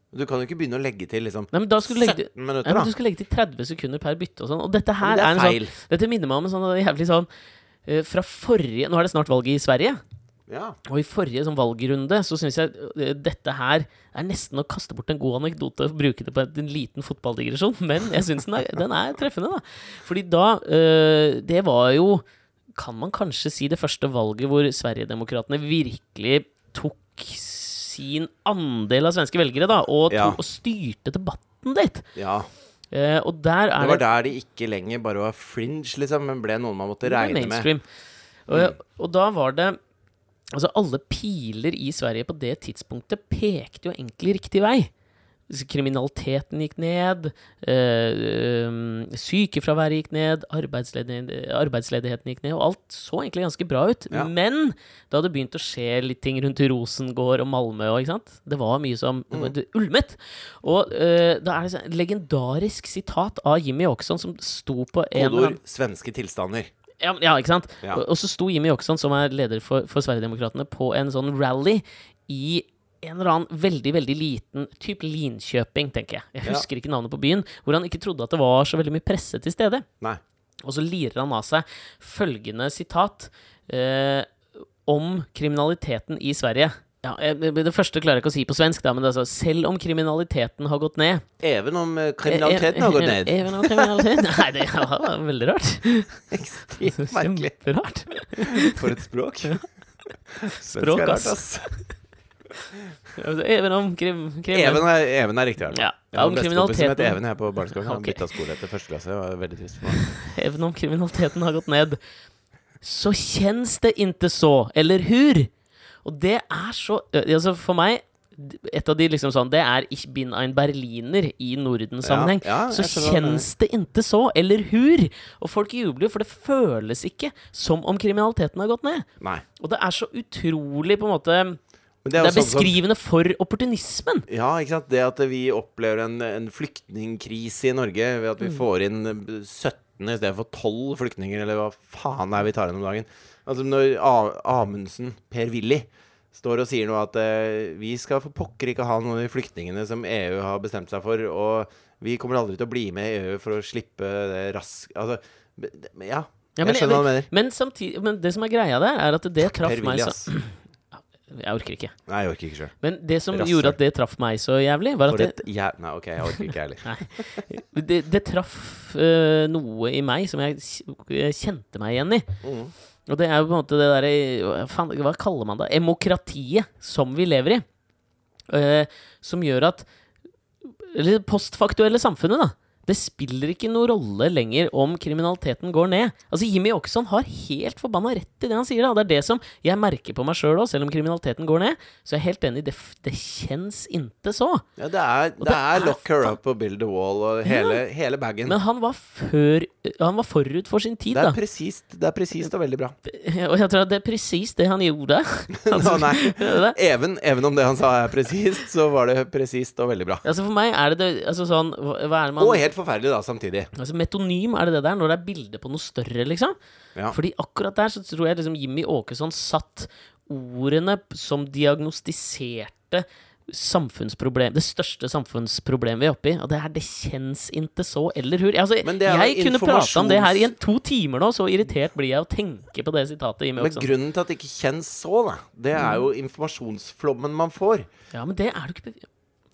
Speaker 2: Du kan jo ikke begynne å legge til liksom
Speaker 1: Nei, men da skulle du legge,
Speaker 2: 17
Speaker 1: til-
Speaker 2: minutter,
Speaker 1: nei, men
Speaker 2: da.
Speaker 1: du skulle legge til 30 sekunder per bytte og sånn. Og dette her
Speaker 2: Men
Speaker 1: er,
Speaker 2: det er
Speaker 1: en
Speaker 2: feil.
Speaker 1: sånn Dette minner meg om en sånn jævlig sånn eh, Fra forrige Nå er det snart valg i Sverige.
Speaker 2: Ja.
Speaker 1: Og i forrige sånn valgrunde så syns jeg eh, dette her er nesten å kaste bort en god anekdote og bruke det på en liten fotballdigresjon, men jeg syns den, er- den er treffende, da. Fordi da eh, Det var jo, kan man kanskje si, det første valget hvor Sverigedemokraterna virkelig tok sin andel av svenske velgere, da, og, to,
Speaker 2: Ja.
Speaker 1: og styrte debatten litt.
Speaker 2: ja.
Speaker 1: Eh, og der
Speaker 2: Det
Speaker 1: er
Speaker 2: var der de ikke lenger bare var fringe, liksom, men ble noen man måtte
Speaker 1: Det er
Speaker 2: regne med. Mm.
Speaker 1: mainstream. Og, og da var det Altså, alle piler i Sverige på det tidspunktet pekte jo egentlig riktig vei. s- kriminaliteten gikk ned, eh, um, sykefraværet gikk ned, arbeidsledi- arbeidsledigheten gikk ned, og alt så egentlig ganske bra ut.
Speaker 2: Ja.
Speaker 1: Men det hadde begynt å skje litt ting rundt Rosengård og Malmö og ikke sant? Det var mye som
Speaker 2: Mm.
Speaker 1: det var, det ulmet. Og eh, da er det et legendarisk sitat av Jimmy Åkesson som sto på en eller
Speaker 2: Kodeord
Speaker 1: annen-
Speaker 2: svenske tilstander.
Speaker 1: ja, men- ja, ikke sant?
Speaker 2: Ja.
Speaker 1: Og, og så sto Jimmy Åkesson, som er leder for, for Sverigedemokraterna, på en sånn rally i en eller annen veldig veldig liten type Linkjøping, tenker jeg. Jeg
Speaker 2: Ja.
Speaker 1: husker ikke navnet på byen. Hvor han ikke trodde at det var så veldig mye presse til stede.
Speaker 2: Nei.
Speaker 1: Og så lirer han av seg følgende sitat eh, om kriminaliteten i Sverige. Ja, eh, det første klarer jeg ikke å si på svensk, da, men det er altså Selv om kriminaliteten har gått ned
Speaker 2: Even om eh, kriminaliteten har gått ned.
Speaker 1: Eh, eh, Even om kriminaliteten Nei, det var veldig rart. eh,
Speaker 2: Ekstremt merkelig.
Speaker 1: Kjemperart.
Speaker 2: For et språk.
Speaker 1: eh, Språk,
Speaker 2: Svensk er rart,
Speaker 1: ass. Altså, Even om krim... krim
Speaker 2: Even er, Even er riktig, i hvert fall.
Speaker 1: Ja.
Speaker 2: Jeg har
Speaker 1: Om
Speaker 2: en bestefar som het
Speaker 1: kriminaliteten-
Speaker 2: Even her på barneskolen. Han
Speaker 1: Ok.
Speaker 2: bytta skole etter første klasse. Det var veldig trist for meg.
Speaker 1: Even om kriminaliteten har gått ned, så kjennes det inte så, eller hur? Og det er så ø, altså For meg, d- et av de liksom sånn Det er Ich bin ein Berliner i Norden-sammenheng.
Speaker 2: Ja, ja, jeg
Speaker 1: så
Speaker 2: skjønner hva du
Speaker 1: kjennes det inte så, eller hur? Og folk jubler, for det føles ikke som om kriminaliteten har gått ned.
Speaker 2: Nei.
Speaker 1: Og det er så utrolig, på en måte
Speaker 2: Men
Speaker 1: Det
Speaker 2: jo
Speaker 1: er
Speaker 2: sånn som-
Speaker 1: beskrivende for opportunismen.
Speaker 2: Ja, ikke sant? Det at vi opplever en, en flyktningkrise i Norge ved at vi
Speaker 1: Mm.
Speaker 2: får inn eh, 17 i stedet for 12 flyktninger, eller hva faen er vi tar inn om dagen. Altså når A Amundsen, Per Willy, står og sier nå at eh, vi skal for pokker ikke ha noen av de flyktningene som EU har bestemt seg for, og vi kommer aldri til å bli med i EU for å slippe det raskt Altså, b- d- ja.
Speaker 1: Ja,
Speaker 2: jeg skjønner hva du mener.
Speaker 1: Men, samtidig, men det som er greia der, er at det traff
Speaker 2: Per
Speaker 1: meg
Speaker 2: Willy,
Speaker 1: så
Speaker 2: ass.
Speaker 1: Jeg orker ikke.
Speaker 2: Nei, jeg orker ikke sjøl.
Speaker 1: Men det som
Speaker 2: Rasshøl.
Speaker 1: gjorde at det traff meg så jævlig, var at
Speaker 2: For
Speaker 1: det,
Speaker 2: et jæ... Nei, OK, jeg orker ikke, jeg heller.
Speaker 1: det, det traff øh, noe i meg som jeg, s- jeg kjente meg igjen i.
Speaker 2: Mhm.
Speaker 1: Og det er jo på en måte det derre hva faen, Hva kaller man det? Emokratiet som vi lever i. Eh, som gjør at Eller det postfaktuelle samfunnet, da. Det spiller ikke noen rolle lenger om kriminaliteten går ned. Altså Jimmy Åkesson har helt forbanna rett i det han sier. da Og Det er det som jeg merker på meg sjøl òg, selv om kriminaliteten går ned. Så jeg er helt enig, det, f- det kjennes inte så.
Speaker 2: Ja, det er, det
Speaker 1: det
Speaker 2: er
Speaker 1: er
Speaker 2: lock her up og build the wall og hele, hele bagen.
Speaker 1: Men han var, før, han var forut for sin tid,
Speaker 2: Det er
Speaker 1: da.
Speaker 2: presist, det er presist og veldig bra.
Speaker 1: Og jeg tror at det er presis det han gjorde.
Speaker 2: Nå, nei.
Speaker 1: Det-
Speaker 2: Even, even om det han sa er presist, så var det presist og veldig bra.
Speaker 1: altså For meg er det det altså sånn Hva hva er det man
Speaker 2: Og helt forferdelig, da, samtidig.
Speaker 1: altså Metonym er det det der, når det er bilde på noe større, liksom.
Speaker 2: Ja.
Speaker 1: Fordi akkurat der så tror jeg liksom Jimmy Åkesson satt ordene p- som diagnostiserte samfunnsproblem, det største samfunnsproblemet vi er oppe i. Og det er 'det kjennes inte så eller hur'. Altså,
Speaker 2: Men det er jo
Speaker 1: jeg kunne prata om det her i
Speaker 2: informasjons-
Speaker 1: en, to timer nå, så irritert blir jeg av å tenke på det sitatet. Jimmy
Speaker 2: Men
Speaker 1: Åkesson
Speaker 2: grunnen til at det ikke kjennes så, da, det er jo informasjonsflommen man får.
Speaker 1: Ja, men det er du ikke bev-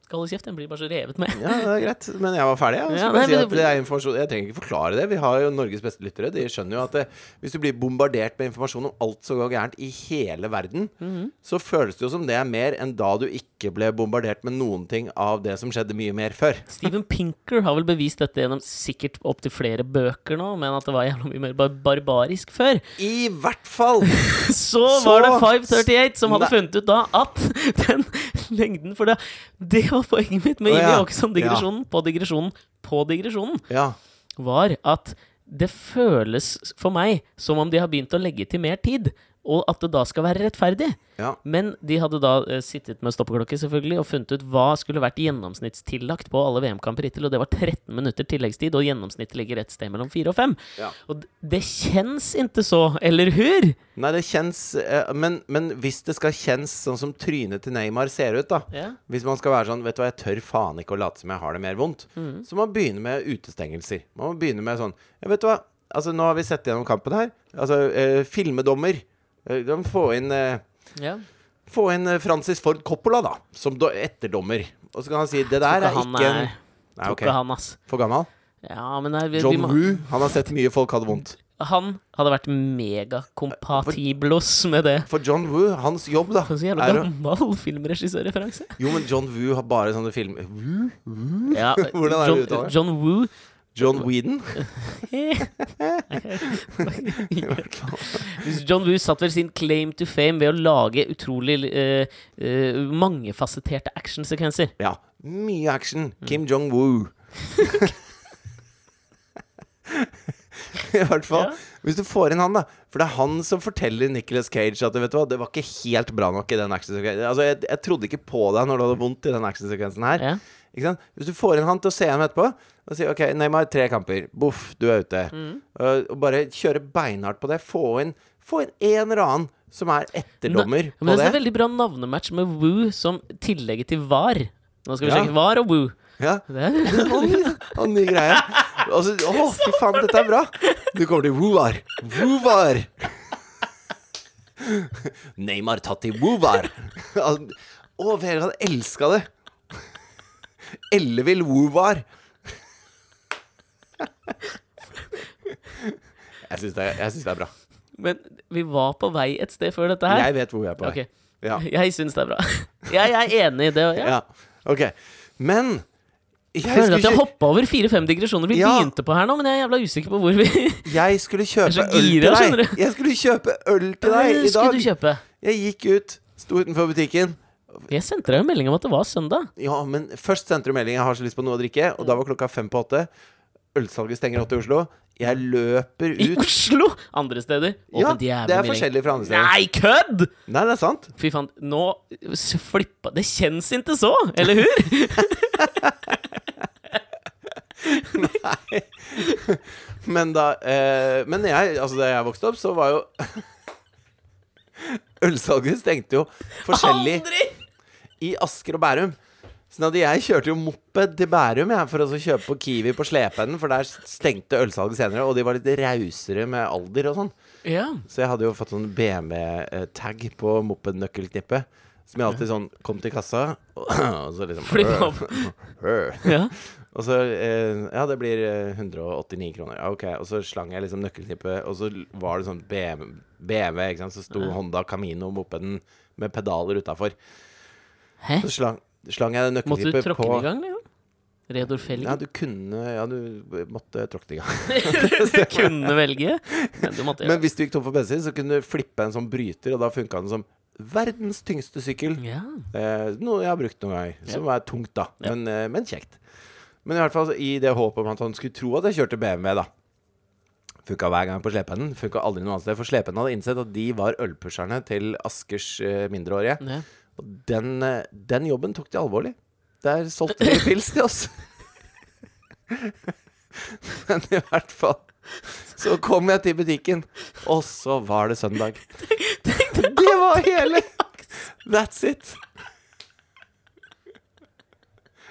Speaker 1: Skal holde kjeft, den blir bare så revet med.
Speaker 2: Ja, det er greit, men jeg var ferdig.
Speaker 1: Ja,
Speaker 2: Jeg, skulle bare
Speaker 1: nei,
Speaker 2: si
Speaker 1: men
Speaker 2: at
Speaker 1: det-
Speaker 2: det er informasjon. jeg trenger ikke forklare det. Vi har jo Norges beste lyttere. De skjønner jo at det, hvis du blir bombardert med informasjon om alt som går gærent i hele verden,
Speaker 1: Mhm.
Speaker 2: så føles det jo som det er mer enn da du ikke ble bombardert med noen ting av det som skjedde mye mer før.
Speaker 1: Steven Pinker har vel bevist dette gjennom sikkert opptil flere bøker nå, men at det var jævla mye mer bar barbarisk før.
Speaker 2: I hvert fall!
Speaker 1: Så
Speaker 2: Så-
Speaker 1: var det 538 som hadde
Speaker 2: Nei.
Speaker 1: funnet ut da at den lengden For det, det var poenget mitt med
Speaker 2: Å,
Speaker 1: Jimmy
Speaker 2: ja.
Speaker 1: Åkesson-digresjonen på digresjonen på digresjonen,
Speaker 2: Ja.
Speaker 1: var at det føles for meg som om de har begynt å legge til mer tid, og at det da skal være rettferdig.
Speaker 2: ja.
Speaker 1: Men de hadde da eh, sittet med stoppeklokke selvfølgelig og funnet ut hva skulle vært gjennomsnittstillagt på alle VM-kamper hittil, og det var 13 minutter tilleggstid, og gjennomsnittet ligger et sted mellom 4 og 5.
Speaker 2: Ja.
Speaker 1: Og d- det kjennes ikke så, eller hur?
Speaker 2: Nei, det kjennes eh, men, men hvis det skal kjennes sånn som trynet til Neymar ser ut, da
Speaker 1: Ja.
Speaker 2: Hvis man skal være sånn Vet du hva, jeg tør faen ikke å late som jeg har det mer vondt.
Speaker 1: Mm.
Speaker 2: Så man begynner med utestengelser. Man må begynne med sånn ja, Vet du hva, altså nå har vi sett gjennom kampen her. Altså, eh, filmedommer. Eh, de må få inn eh,
Speaker 1: ja.
Speaker 2: Få inn eh, Francis Ford Coppola, da, som do etterdommer. Og så kan han si Det
Speaker 1: Tror ikke
Speaker 2: der er
Speaker 1: han
Speaker 2: ikke en
Speaker 1: er-
Speaker 2: Nei,
Speaker 1: Tok
Speaker 2: ok.
Speaker 1: ikke han, ass.
Speaker 2: For gammel?
Speaker 1: Ja, men nei, vi, vi
Speaker 2: John
Speaker 1: må,
Speaker 2: Rue. Han har sett mye folk hadde vondt.
Speaker 1: han hadde vært megakompatiblos med det.
Speaker 2: For John Woo, hans jobb, da,
Speaker 1: For Så jævla
Speaker 2: er å
Speaker 1: gammel filmregissørreferanse.
Speaker 2: Jo, men John Woo har bare sånne filmer Woo?
Speaker 1: Ja,
Speaker 2: Hvordan er det
Speaker 1: John,
Speaker 2: uttalt?
Speaker 1: John Woo
Speaker 2: John Weedon.
Speaker 1: Hvis John Woo satt vel sin claim to fame ved å lage utrolig eh, eh, mangefasetterte actionsekvenser.
Speaker 2: Ja. Mye action. Kim Jong-woo. I hvert fall.
Speaker 1: Ja.
Speaker 2: Hvis du får inn han, da. For det er han som forteller Nicholas Cage at vet du hva, det var ikke helt bra nok i den actionsekvensen. Altså, jeg, jeg trodde ikke på deg når du hadde vondt i den actionsekvensen her.
Speaker 1: Ja.
Speaker 2: Ikke sant? Hvis du får inn han til å se ham etterpå og sier OK, Neymar, tre kamper. Boff, du er ute.
Speaker 1: Mm.
Speaker 2: Og- og bare kjøre beinhardt på det. Få inn, få inn en eller annen som er etterdommer
Speaker 1: Men
Speaker 2: på
Speaker 1: det er en
Speaker 2: det.
Speaker 1: veldig bra navnematch med Woo som tillegget til VAR. Nå skal vi
Speaker 2: Ja.
Speaker 1: sjekke VAR og Woo.
Speaker 2: Ja.
Speaker 1: Det er,
Speaker 2: Oi, og ny greie. Altså, å, fy faen, dette er bra. Du kommer til Wuvar. Wuvar! Neymar tatt i Wuvar. Han- Å, Vegard elska det. Ellevill Wuvar. Jeg syns det, er- jeg syns det er bra.
Speaker 1: men vi var på vei et sted før dette her.
Speaker 2: Jeg vet hvor jeg er på.
Speaker 1: Ok.
Speaker 2: Ja.
Speaker 1: Jeg syns det er bra. Jeg er enig i det. Ja.
Speaker 2: ja. Ok. Men jeg
Speaker 1: Jeg føler at
Speaker 2: skulle
Speaker 1: jeg
Speaker 2: kjø-
Speaker 1: hoppa over fire-fem digresjoner vi
Speaker 2: Ja.
Speaker 1: begynte på her nå, men jeg er jævla usikker på hvor vi
Speaker 2: jeg skulle
Speaker 1: Jeg
Speaker 2: kjøpe
Speaker 1: er så
Speaker 2: øl
Speaker 1: gira,
Speaker 2: til
Speaker 1: skjønner
Speaker 2: deg.
Speaker 1: du.
Speaker 2: Jeg skulle kjøpe øl til deg i
Speaker 1: skulle du
Speaker 2: dag.
Speaker 1: kjøpe.
Speaker 2: Jeg gikk ut, sto utenfor butikken.
Speaker 1: Jeg sendte deg jo melding om at det var søndag.
Speaker 2: Ja, men først sendte du melding 'Jeg har så lyst på noe å drikke', og da var klokka fem på åtte. Ølsalget stenger åtte i Oslo. Jeg løper
Speaker 1: I
Speaker 2: ut.
Speaker 1: Oslo! Andre steder.
Speaker 2: Ja,
Speaker 1: Åpent jævlig
Speaker 2: det er
Speaker 1: melding.
Speaker 2: forskjellig fra andre steder.
Speaker 1: Nei, kødd!
Speaker 2: Nei, det er sant.
Speaker 1: Fy faen, nå s- flippa Det kjennes ikke så, eller hur?
Speaker 2: Men da eh, Men jeg, altså da jeg vokste opp, så var jo Ølsalget stengte jo forskjellig
Speaker 1: Aldri!
Speaker 2: i Asker og Bærum. Sånn at jeg kjørte jo moped til Bærum jeg, for å så kjøpe på Kiwi på Slependen, for der stengte ølsalget senere, og de var litt rausere med alder og sånn.
Speaker 1: Ja.
Speaker 2: Så jeg hadde jo fått sånn BM-tag på mopednøkkelknippet. Som jeg alltid sånn kom til kassa, og, og så liksom
Speaker 1: Flippa opp. Ja.
Speaker 2: Og så eh, Ja, det blir eh, 189 kroner. Ja, ok. Og så slang jeg liksom nøkkelknippet, og så var det sånn BM, BMW, E, ikke sant. Så sto Honda Camino-mopeden med pedaler utafor.
Speaker 1: Hæ?
Speaker 2: Så slang, slang jeg det
Speaker 1: Måtte du
Speaker 2: nøkkelknippet
Speaker 1: tråkke
Speaker 2: på
Speaker 1: den i gang, liksom? Redor
Speaker 2: Ja,
Speaker 1: Felgen?
Speaker 2: du kunne Ja, du måtte tråkke det i gang.
Speaker 1: du kunne velge? Men du måtte
Speaker 2: Men hvis du gikk tom for bensin, så kunne du flippe en sånn bryter, og da funka den som verdens tyngste sykkel.
Speaker 1: ja.
Speaker 2: Eh, noe jeg har brukt noen gang, som er tungt, da.
Speaker 1: Ja.
Speaker 2: Men, eh, men kjekt. Men i hvert fall i det håpet om at han skulle tro at jeg kjørte BMW, da. Funka hver gang på Slependen. Funka aldri noe annet sted. For Slependen hadde innsett at de var ølpusherne til Askers eh, mindreårige.
Speaker 1: ja.
Speaker 2: Og den, eh, den jobben tok de alvorlig. Der solgte de pils til oss. men i hvert fall så kom jeg til butikken, og så var det søndag. Det var hele That's it.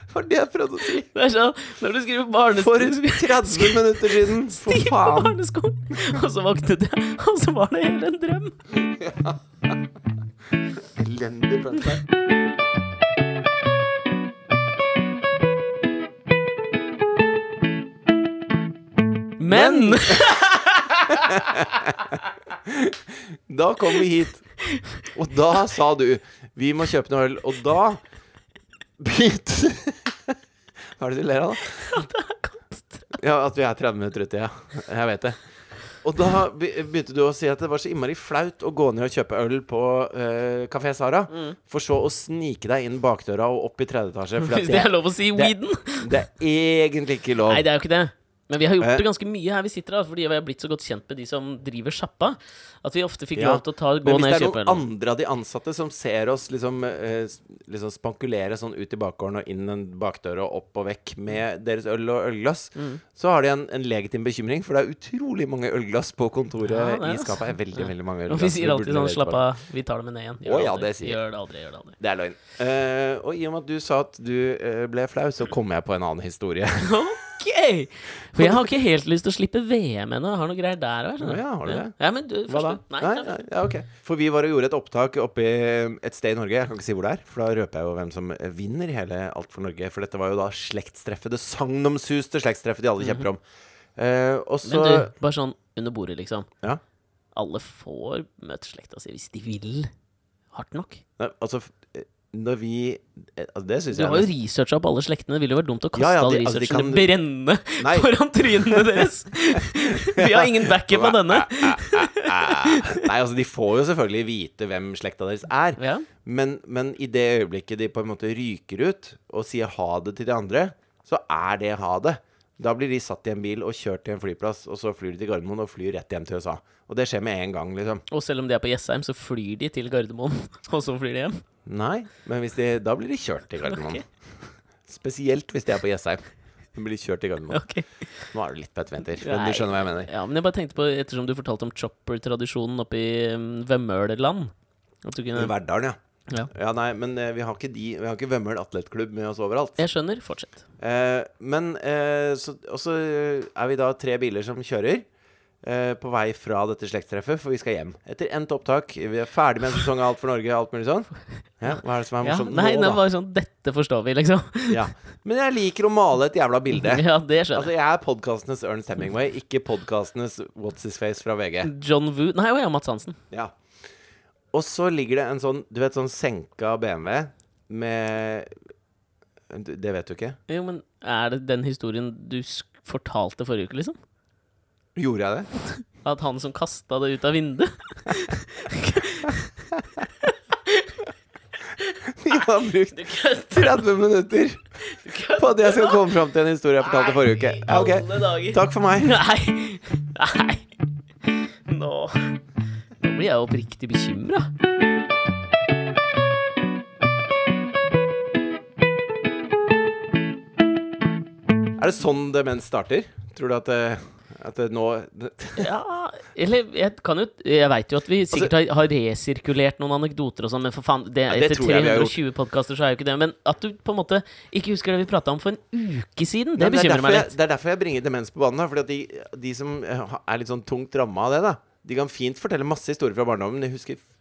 Speaker 2: Det var det jeg prøvde å si.
Speaker 1: Det er sånn når du skriver barnes-
Speaker 2: For 30 minutter siden. For
Speaker 1: i
Speaker 2: faen.
Speaker 1: barneskolen, og så våknet jeg, og så var det hele en drøm.
Speaker 2: Elendig punchline.
Speaker 1: Men
Speaker 2: Da kom vi hit, og da sa du 'vi må kjøpe noe øl', og da begynte Hva er det du ler av, da? Ja, At vi er 30 minutter ute, ja. Jeg vet det. Og da be- begynte du å si at det var så innmari flaut å gå ned og kjøpe øl på uh, Kafé Sara,
Speaker 1: Mm.
Speaker 2: for så å snike deg inn bakdøra og opp i tredje etasje. For
Speaker 1: Hvis det er
Speaker 2: det,
Speaker 1: lov å si Weeden?
Speaker 2: det er egentlig ikke lov.
Speaker 1: Nei, det er jo ikke det. Men vi har
Speaker 2: Eh.
Speaker 1: gjort det ganske mye her vi sitter, da, fordi vi har blitt så godt kjent med de som driver sjappa, at vi ofte fikk
Speaker 2: Ja,
Speaker 1: lov til å ta, gå
Speaker 2: Men hvis
Speaker 1: ned
Speaker 2: det
Speaker 1: og
Speaker 2: er
Speaker 1: kjøpe
Speaker 2: noen
Speaker 1: øl.
Speaker 2: andre av de ansatte som ser oss liksom, eh, s- liksom spankulere sånn ut i bakgården og inn en bakdør og opp og vekk med deres øl og ølglass,
Speaker 1: Mm.
Speaker 2: så har de en, en legitim bekymring, for det er utrolig mange ølglass på kontoret
Speaker 1: Ja, det er
Speaker 2: i
Speaker 1: det.
Speaker 2: skapet. Det er Veldig, veldig mange
Speaker 1: Og
Speaker 2: ølglass.
Speaker 1: vi sier
Speaker 2: burde
Speaker 1: alltid sånn
Speaker 2: levere
Speaker 1: 'slapp
Speaker 2: tilbake.
Speaker 1: av, vi tar det med ned igjen'. Gjør
Speaker 2: Å, ja,
Speaker 1: aldri.
Speaker 2: det sier jeg.
Speaker 1: Gjør det aldri. gjør det aldri
Speaker 2: Det er løgn. Eh, og i og med at du sa at du eh, ble flau, så kom jeg på en annen historie.
Speaker 1: Ok! For jeg har ikke helt lyst til å slippe VM ennå. Jeg har noe greier der òg.
Speaker 2: Å, ja, har du det?
Speaker 1: Ja, men du,
Speaker 2: Hva da?
Speaker 1: først- Nei,
Speaker 2: Nei,
Speaker 1: ta-
Speaker 2: nei, ja, ok. For vi var og gjorde et opptak oppe i um, et sted i Norge. Jeg kan ikke si hvor det er, for da røper jeg jo hvem som eh, vinner hele Alt for Norge. For dette var jo da slektstreffet. Det sagnomsuste slektstreffet de alle kjemper om. Eh, og så
Speaker 1: Mhm. Men du, bare sånn under bordet, liksom.
Speaker 2: Ja.
Speaker 1: Alle får møte slekta si hvis de vil. Hardt nok.
Speaker 2: Nei, Altså, f- eh, når vi eh, altså, Det syns
Speaker 1: Du
Speaker 2: jeg
Speaker 1: har jo
Speaker 2: nesten-
Speaker 1: researcha opp alle slektene. Det ville jo vært dumt å kaste
Speaker 2: Ja, ja,
Speaker 1: all
Speaker 2: de- altså, de
Speaker 1: researchen
Speaker 2: kan-
Speaker 1: brenne
Speaker 2: Nei.
Speaker 1: foran trynene deres! Vi har ingen backup av denne.
Speaker 2: Nei, altså, de får jo selvfølgelig vite hvem slekta deres er.
Speaker 1: Ja.
Speaker 2: Men, men i det øyeblikket de på en måte ryker ut og sier ha det til de andre, så er det ha det. Da blir de satt i en bil og kjørt til en flyplass, og så flyr de til Gardermoen og flyr rett hjem til USA. Og det skjer med en gang, liksom.
Speaker 1: Og selv om de er på Jessheim, så flyr de til Gardermoen, og så flyr de hjem.
Speaker 2: Nei, men hvis de, da blir de kjørt til Gardermoen.
Speaker 1: Ok.
Speaker 2: Spesielt hvis de er på Jessheim. Da blir de kjørt til Gardermoen.
Speaker 1: Ok.
Speaker 2: Nå er du litt på et venter, men
Speaker 1: Nei.
Speaker 2: du skjønner hva jeg mener.
Speaker 1: Ja, men jeg bare tenkte på, ettersom du fortalte om chopper-tradisjonen oppe i um, Vemmøleland at du kunne,
Speaker 2: Verdalen, ja.
Speaker 1: ja.
Speaker 2: Ja, nei, men eh, vi har ikke de Vi har ikke Vømmøl atletklubb med oss overalt.
Speaker 1: Jeg skjønner. Fortsett.
Speaker 2: Eh, men eh, så, Og så eh, er vi da tre biler som kjører eh, på vei fra dette slektstreffet, for vi skal hjem. Etter endt opptak. Vi er ferdig med en sesong av Alt for Norge, alt mulig sånn. Ja, hva er det som er
Speaker 1: Ja,
Speaker 2: morsomt
Speaker 1: nei, det er
Speaker 2: nå, da?
Speaker 1: bare sånn Dette forstår vi, liksom.
Speaker 2: Ja. Men jeg liker å male et jævla bilde.
Speaker 1: Ja, det skjønner jeg.
Speaker 2: Altså, jeg er podkastenes Ernst Hemingway, ikke podkastenes What's His Face fra VG.
Speaker 1: John Woo Nei, å ja, Mads Hansen.
Speaker 2: Ja. Og så ligger det en sånn, du vet, sånn senka BMW med du- Det vet du ikke?
Speaker 1: Jo, men er det den historien du sk fortalte forrige uke, liksom?
Speaker 2: Gjorde jeg det?
Speaker 1: At han som kasta det ut av vinduet
Speaker 2: Vi har brukt
Speaker 1: Du kødder!
Speaker 2: 30 minutter
Speaker 1: Du kødder!
Speaker 2: på at jeg skal komme fram til en historie jeg fortalte forrige uke.
Speaker 1: Nei,
Speaker 2: Ja, ok.
Speaker 1: Alle dager.
Speaker 2: Takk for meg.
Speaker 1: Nei. Nei. Nå Nå blir jeg oppriktig bekymra.
Speaker 2: Er det sånn demens starter? Tror du at, det- at det nå
Speaker 1: Ja, eller jeg kan jo Jeg veit jo at vi sikkert har, har resirkulert noen anekdoter og sånn, men for faen, det,
Speaker 2: Altså- det
Speaker 1: etter
Speaker 2: tror jeg vi har
Speaker 1: 320 podkaster så er jo ikke det Men at du på en måte ikke husker det vi prata om for en uke siden, det
Speaker 2: Nei, men er
Speaker 1: bekymrer
Speaker 2: derfor
Speaker 1: meg
Speaker 2: jeg,
Speaker 1: litt.
Speaker 2: det er derfor jeg bringer demens på banen. da, Fordi at de, de som eh, ha- er litt sånn tungt ramma av det, da De kan fint fortelle masse historier fra barndommen, men de husker f-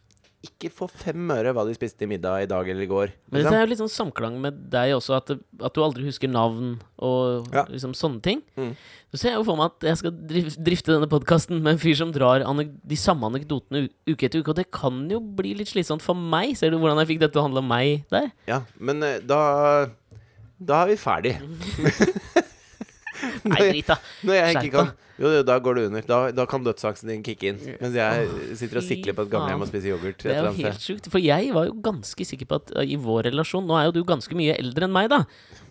Speaker 2: ikke for fem øre hva de spiste i middag i dag eller i går.
Speaker 1: Men
Speaker 2: liksom.
Speaker 1: dette er jo litt sånn samklang med deg også, at, det- at du aldri husker navn og
Speaker 2: Ja.
Speaker 1: liksom sånne ting.
Speaker 2: Mm.
Speaker 1: Så ser jeg jo for meg at jeg skal drif- drifte denne podkasten med en fyr som drar anek de samme anekdotene u- uke etter uke, og det kan jo bli litt slitsomt for meg. Ser du hvordan jeg fikk dette til å handle om meg der?
Speaker 2: Ja, men eh, da Da er vi ferdig.
Speaker 1: Nei, drit, da.
Speaker 2: Når jeg ikke
Speaker 1: Skjerp
Speaker 2: kan Jo, jo, da går det under. Da, da kan dødsangsten din kicke inn. Mens jeg sitter og
Speaker 1: fy
Speaker 2: sikler på et gamlehjem og
Speaker 1: faen.
Speaker 2: spiser yoghurt.
Speaker 1: Det
Speaker 2: et
Speaker 1: er
Speaker 2: eller
Speaker 1: jo
Speaker 2: annet
Speaker 1: helt
Speaker 2: sted.
Speaker 1: sjukt. For jeg var jo ganske sikker på at uh, i vår relasjon Nå er jo du ganske mye eldre enn meg, da.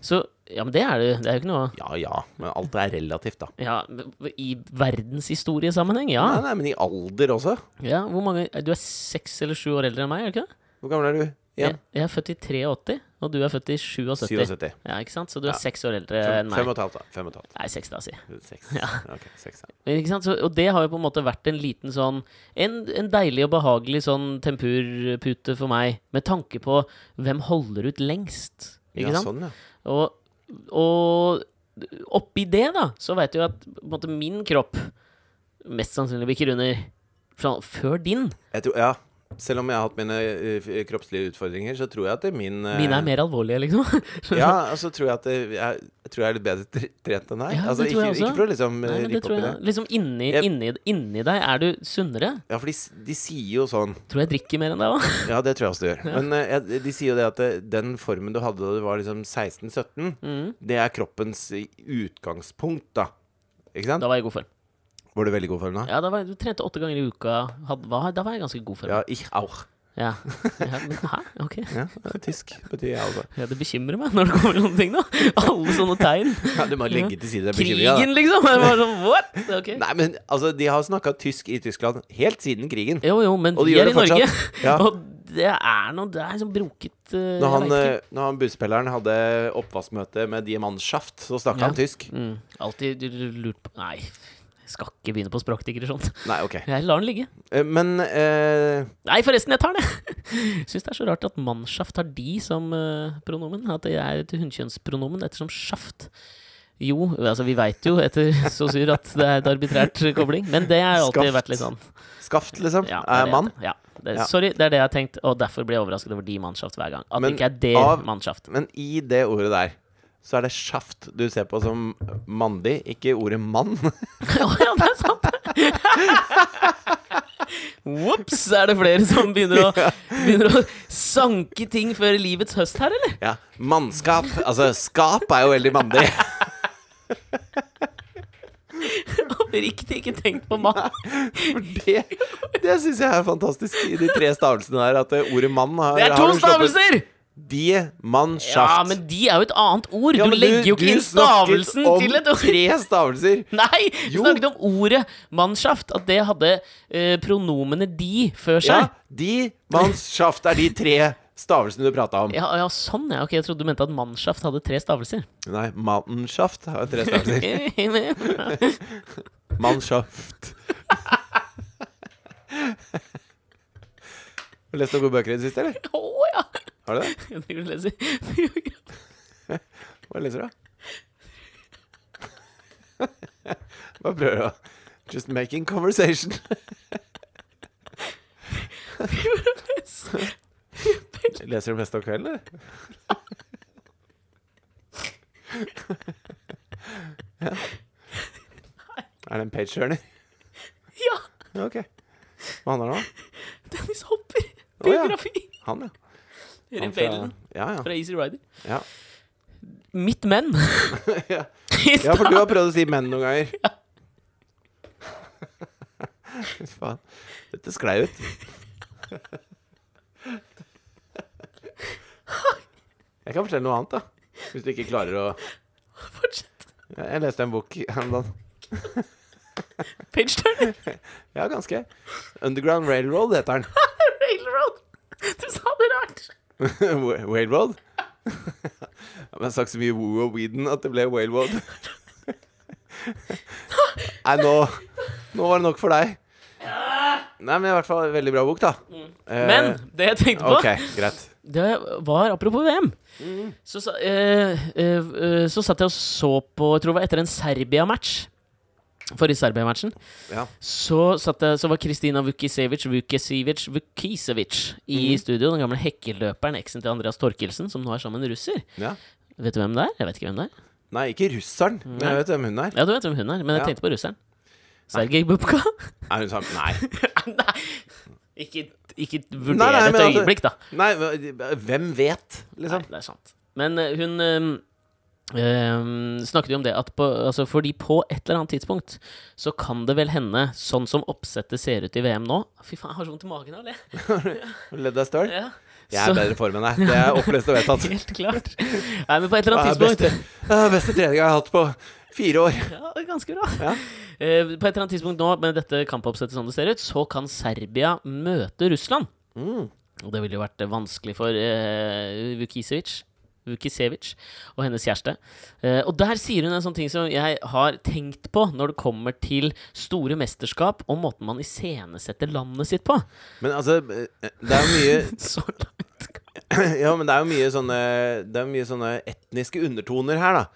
Speaker 1: Så Ja, men det er du. Det er jo ikke noe
Speaker 2: Ja ja, men alt er relativt, da.
Speaker 1: Ja, men i verdenshistoriesammenheng, ja.
Speaker 2: Nei, nei, men i alder også.
Speaker 1: ja. Hvor mange Du er seks eller sju år eldre enn meg, er du ikke det?
Speaker 2: Hvor gammel er du?
Speaker 1: Jeg,
Speaker 2: Igjen?
Speaker 1: jeg er født i 83, og du er født i 77.
Speaker 2: 77.
Speaker 1: Ja, ikke sant? Så du
Speaker 2: Ja.
Speaker 1: er seks år eldre enn
Speaker 2: Fem, fem
Speaker 1: meg.
Speaker 2: og et halvt, da. Fem og et halvt.
Speaker 1: Nei, seks, da, si.
Speaker 2: Seks.
Speaker 1: Ja.
Speaker 2: Ok, seks, ja.
Speaker 1: Men Ikke sant? Så, og det har jo på en måte vært en liten sånn En, en deilig og behagelig sånn tempurpute for meg, med tanke på hvem holder ut lengst. Ikke
Speaker 2: ja,
Speaker 1: sant?
Speaker 2: sånn, ja.
Speaker 1: Og, og oppi det, da, så veit du jo at på en måte, min kropp mest sannsynlig bikker under fra- før din.
Speaker 2: Jeg tror, ja. Selv om jeg har hatt mine eh, f- kroppslige utfordringer, så tror jeg at det er min eh,
Speaker 1: Mine er mer alvorlige, liksom.
Speaker 2: Ja, og så tror jeg at det, jeg, jeg tror jeg er litt bedre tre- trent enn deg.
Speaker 1: Ja,
Speaker 2: altså,
Speaker 1: det tror
Speaker 2: ikke,
Speaker 1: jeg også.
Speaker 2: ikke for å liksom eh,
Speaker 1: Nei, men det
Speaker 2: rippe
Speaker 1: tror
Speaker 2: opp i det.
Speaker 1: jeg. Liksom inni,
Speaker 2: Jeg-
Speaker 1: inni, inni deg er du sunnere.
Speaker 2: Ja, for de, s- de sier jo sånn
Speaker 1: Tror jeg drikker mer enn deg òg.
Speaker 2: Ja, det tror jeg også du gjør. Men eh, jeg, de sier jo det at eh, den formen du hadde da du var liksom 16-17, det er kroppens eh, utgangspunkt, da. Ikke
Speaker 1: Da
Speaker 2: sant?
Speaker 1: var jeg i god form.
Speaker 2: Var du veldig god form da?
Speaker 1: Ja, da var jeg, Du trente åtte ganger i uka. Hadde, hva, da var jeg i ganske god form.
Speaker 2: Ja, ich auch.
Speaker 1: Ja. ja. Men hæ? Ok.
Speaker 2: Ja, tysk betyr jeg også.
Speaker 1: Ja, det bekymrer meg når det kommer sånne ting, da. Alle sånne tegn.
Speaker 2: Ja, du må legge til side den bekymringa, da.
Speaker 1: Krigen, liksom. Jeg var sånn, what? Ok.
Speaker 2: Nei, men altså, de har snakka tysk i Tyskland helt siden krigen.
Speaker 1: Jo, jo, men
Speaker 2: Og de
Speaker 1: vi
Speaker 2: gjør
Speaker 1: er i
Speaker 2: det
Speaker 1: Norge.
Speaker 2: fortsatt. Ja.
Speaker 1: Og det er noe Det er sånn broket eh,
Speaker 2: Når
Speaker 1: jeg
Speaker 2: han,
Speaker 1: vet ikke.
Speaker 2: eh, når han busspilleren hadde oppvaskmøte med Diamantschaft, så snakka
Speaker 1: Ja.
Speaker 2: han tysk.
Speaker 1: mm, Alltid lurt på Nei, jeg skal ikke begynne på språkdigresjon.
Speaker 2: Nei, ok.
Speaker 1: Jeg lar den ligge.
Speaker 2: Eh, Men eh,
Speaker 1: Nei, forresten, jeg tar det! Syns det er så rart at mannschaft har de som eh, pronomen. At det er et hunnkjønnspronomen ettersom sjaft Jo, altså vi veit jo etter SOSYR at det er et arbitrært kobling, men det har alltid
Speaker 2: Skaft.
Speaker 1: vært litt sånn.
Speaker 2: Skaft, liksom,
Speaker 1: Ja, det
Speaker 2: er
Speaker 1: det
Speaker 2: mann.
Speaker 1: heter. Ja, det,
Speaker 2: Ja.
Speaker 1: Sorry, det er det jeg har tenkt, og derfor blir jeg overrasket over de mannschaft hver gang. At
Speaker 2: Men
Speaker 1: det ikke er der
Speaker 2: av-
Speaker 1: mannschaft.
Speaker 2: Men i det ordet der så er det sjaft du ser på som mandig, ikke ordet mann.
Speaker 1: Å ja, det er sant! Ops! Er det flere som begynner å, begynner å sanke ting før livets høst her, eller?
Speaker 2: Ja, Mannskap. Altså, skap er jo veldig mandig.
Speaker 1: Oppriktig ikke tenkt på mann.
Speaker 2: For det, det syns jeg er fantastisk i de tre stavelsene her, at eh, ordet mann har
Speaker 1: Det er
Speaker 2: har
Speaker 1: to
Speaker 2: du sluppet.
Speaker 1: stavelser!
Speaker 2: De, mann,
Speaker 1: Ja,
Speaker 2: sjaft.
Speaker 1: men de er jo et annet ord.
Speaker 2: Ja,
Speaker 1: Du
Speaker 2: men
Speaker 1: legger jo ikke
Speaker 2: du
Speaker 1: inn
Speaker 2: snakket
Speaker 1: stavelsen
Speaker 2: om
Speaker 1: til et ord.
Speaker 2: Tre stavelser.
Speaker 1: Nei! Du
Speaker 2: Jo.
Speaker 1: snakket om ordet mannschaft. At det hadde eh, pronomenet de før
Speaker 2: Ja,
Speaker 1: seg.
Speaker 2: de, mann, sjaft er de tre stavelsene du prata om.
Speaker 1: Ja, ja, sånn, ja. Ok, jeg trodde du mente at mannschaft hadde tre stavelser.
Speaker 2: Nei, mannschaft har tre stavelser.
Speaker 1: ja,
Speaker 2: Mannschaft. Har du lest noen gode bøker i det siste, eller?
Speaker 1: Å ja!
Speaker 2: Har du det?
Speaker 1: Jeg driver og leser.
Speaker 2: Hva leser du? Bare prøver å Just making conversation. Leser du mest om kvelden, eller? ja. Er det en page-turner?
Speaker 1: Ja!
Speaker 2: Ja, Ok. Hva handler det om?
Speaker 1: Dennis Hopper.
Speaker 2: Å, ja.
Speaker 1: Biografi.
Speaker 2: Han, ja. Han fra-
Speaker 1: Rebellen
Speaker 2: Ja, ja.
Speaker 1: fra Easy Rider.
Speaker 2: Ja.
Speaker 1: Mitt menn.
Speaker 2: Ja.
Speaker 1: I
Speaker 2: ja, for
Speaker 1: stad.
Speaker 2: du har prøvd å si menn noen ganger. Fy faen. Dette sklei ut. Jeg kan fortelle noe annet, da. Hvis du ikke klarer å
Speaker 1: Fortsett.
Speaker 2: Jeg jeg leste en bok her om dagen.
Speaker 1: Page turner.
Speaker 2: Ja, ganske. Underground Railroad heter den.
Speaker 1: Railroad. Du sa det rart.
Speaker 2: Wa- Whale-road? Jeg har sagt så mye woo og Whedon at det ble whale-road. Nei, nå, nå var det nok for deg. Nei, men i hvert fall veldig bra bok, da. Eh,
Speaker 1: Mm. Men det jeg tenkte på,
Speaker 2: Ok, greit.
Speaker 1: det var apropos VM. Så, sa- eh, eh, eh, så satt jeg og så på Jeg tror det var etter en Serbia-match. Forrige Serbia-matchen.
Speaker 2: Ja.
Speaker 1: Så, satt jeg, så var Kristina Vukisevic Vukisevic Vukisevic i studio. Den gamle hekkeløperen, eksen til Andreas Torkelsen, som nå er sammen med en russer.
Speaker 2: ja.
Speaker 1: Vet du hvem det er? Jeg vet ikke hvem det er.
Speaker 2: Nei, ikke russeren.
Speaker 1: Mm.
Speaker 2: Men jeg vet hvem hun er.
Speaker 1: Ja, du vet hvem hun er, men jeg
Speaker 2: Ja.
Speaker 1: tenkte på russeren. Sergej Bubka.
Speaker 2: Er hun sammen? Nei.
Speaker 1: nei, ikke, ikke vurder
Speaker 2: Nei, nei,
Speaker 1: et
Speaker 2: men altså-
Speaker 1: øyeblikk, da.
Speaker 2: Nei, men hvem vet,
Speaker 1: Nei,
Speaker 2: liksom?
Speaker 1: det er sant. Men eh, hun eh, eh, snakket jo om det at på, altså fordi på et eller annet tidspunkt så kan det vel hende, sånn som oppsettet ser ut i VM nå Fy faen, jeg har så vondt i magen av det.
Speaker 2: Ledd deg støl?
Speaker 1: Ja.
Speaker 2: Jeg er i
Speaker 1: Så-
Speaker 2: bedre form enn deg. Det er opplest og vedtatt.
Speaker 1: Helt klart. Nei, men på et eller
Speaker 2: Det
Speaker 1: annet
Speaker 2: Altså. er beste,
Speaker 1: tidspunkt
Speaker 2: det er beste treninga jeg har hatt på fire år.
Speaker 1: Ja, det er ganske bra.
Speaker 2: Ja.
Speaker 1: Eh, på et eller annet tidspunkt nå, med dette kampoppsettet som det ser ut, så kan Serbia møte Russland.
Speaker 2: Mm.
Speaker 1: Og det ville jo vært eh, vanskelig for eh, Vukisevic. Vukisevic og hennes kjæreste. Eh, og der sier hun en sånn ting som jeg har tenkt på når det kommer til store mesterskap, og måten man iscenesetter landet sitt på.
Speaker 2: Men altså, det er jo mye
Speaker 1: Så langt.
Speaker 2: Ja, men det er jo mye sånne, det er jo mye sånne etniske undertoner her, da.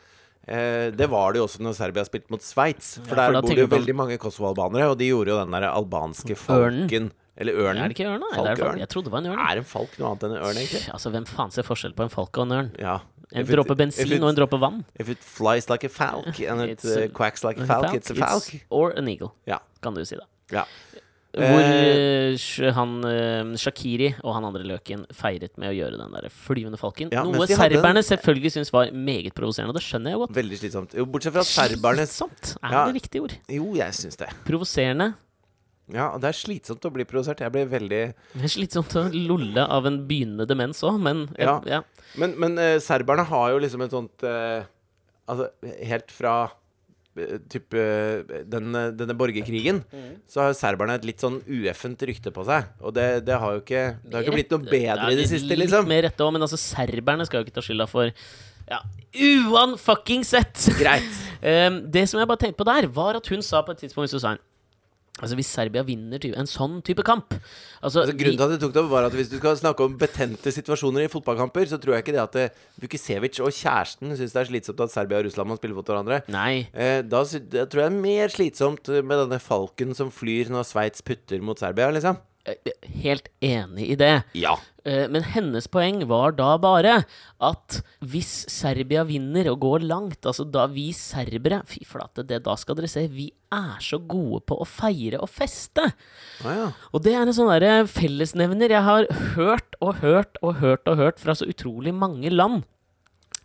Speaker 2: Eh, det var det jo også når Serbia spilte mot Sveits.
Speaker 1: Ja,
Speaker 2: For
Speaker 1: for
Speaker 2: der
Speaker 1: da
Speaker 2: bor det
Speaker 1: tenker
Speaker 2: jo
Speaker 1: du på-
Speaker 2: veldig mange kosovo-albanere, og de gjorde jo den der albanske
Speaker 1: Ørnen.
Speaker 2: falken. Eller
Speaker 1: Er
Speaker 2: ørnen.
Speaker 1: det ikke ørna? Eller er det
Speaker 2: Falkørn.
Speaker 1: fal- Jeg trodde det var en ørn.
Speaker 2: Er en falk noe annet enn en ørn, egentlig?
Speaker 1: Altså, hvem faen ser forskjell på en falk og en ørn?
Speaker 2: Ja.
Speaker 1: En
Speaker 2: If it-
Speaker 1: dråpe bensin
Speaker 2: if it-
Speaker 1: og en dråpe vann.
Speaker 2: If it flies like a falk, and it
Speaker 1: It's a-
Speaker 2: uh, quacks like a
Speaker 1: En
Speaker 2: falk, it's a falk.
Speaker 1: or an eagle,
Speaker 2: Ja.
Speaker 1: kan du si da.
Speaker 2: ja.
Speaker 1: Hvor
Speaker 2: Eh,
Speaker 1: eh, Sh- han eh, Shakiri og han andre løken feiret med å gjøre den der flyvende falken.
Speaker 2: Ja,
Speaker 1: noe
Speaker 2: mens de hadde en-
Speaker 1: serberne selvfølgelig syns var meget provoserende, og det skjønner jeg jo godt.
Speaker 2: Veldig slitsomt. Jo, bortsett fra at serberne
Speaker 1: Slitsomt er
Speaker 2: Ja.
Speaker 1: det riktige ord.
Speaker 2: Jo, jeg syns det.
Speaker 1: Provoserende.
Speaker 2: Ja, og det er slitsomt å bli provosert. Jeg blir veldig
Speaker 1: Det er Slitsomt å lolle av en begynnende demens òg, men eh,
Speaker 2: Ja.
Speaker 1: ja.
Speaker 2: Men, men eh, serberne har jo liksom et sånt eh, Altså, helt fra eh, typ, eh, den, eh, denne borgerkrigen, så har jo serberne et litt sånn ueffent rykte på seg. Og det, det har jo ikke Det har ikke blitt noe bedre i det siste,
Speaker 1: Litt
Speaker 2: liksom.
Speaker 1: mer rette òg, men altså, serberne skal jo ikke ta skylda for ja, uan fucking sett!
Speaker 2: Greit.
Speaker 1: Ehm, det som jeg bare tenkte på der, var at hun sa på et tidspunkt så sa hun Altså Hvis Serbia vinner ty- en sånn type kamp altså,
Speaker 2: Altså, grunnen til at jeg tok det opp, var at hvis du skal snakke om betente situasjoner i fotballkamper, så tror jeg ikke det at eh, Vukisevic og kjæresten syns det er slitsomt at Serbia og Russland må spille mot hverandre.
Speaker 1: vi, Nei.
Speaker 2: Eh, da sy- det tror jeg er mer slitsomt med denne falken som flyr når Sveits putter mot Serbia, liksom.
Speaker 1: eh, Helt enig i det.
Speaker 2: Ja.
Speaker 1: Eh, Men hennes poeng var da bare at hvis Serbia vinner og går langt, altså da vi serbere Fy flate, det da skal dere se. Vi er så gode på å feire og feste.
Speaker 2: Å Ah, ja.
Speaker 1: Og det er en sånn derre fellesnevner jeg har hørt og hørt og hørt og hørt fra så utrolig mange land.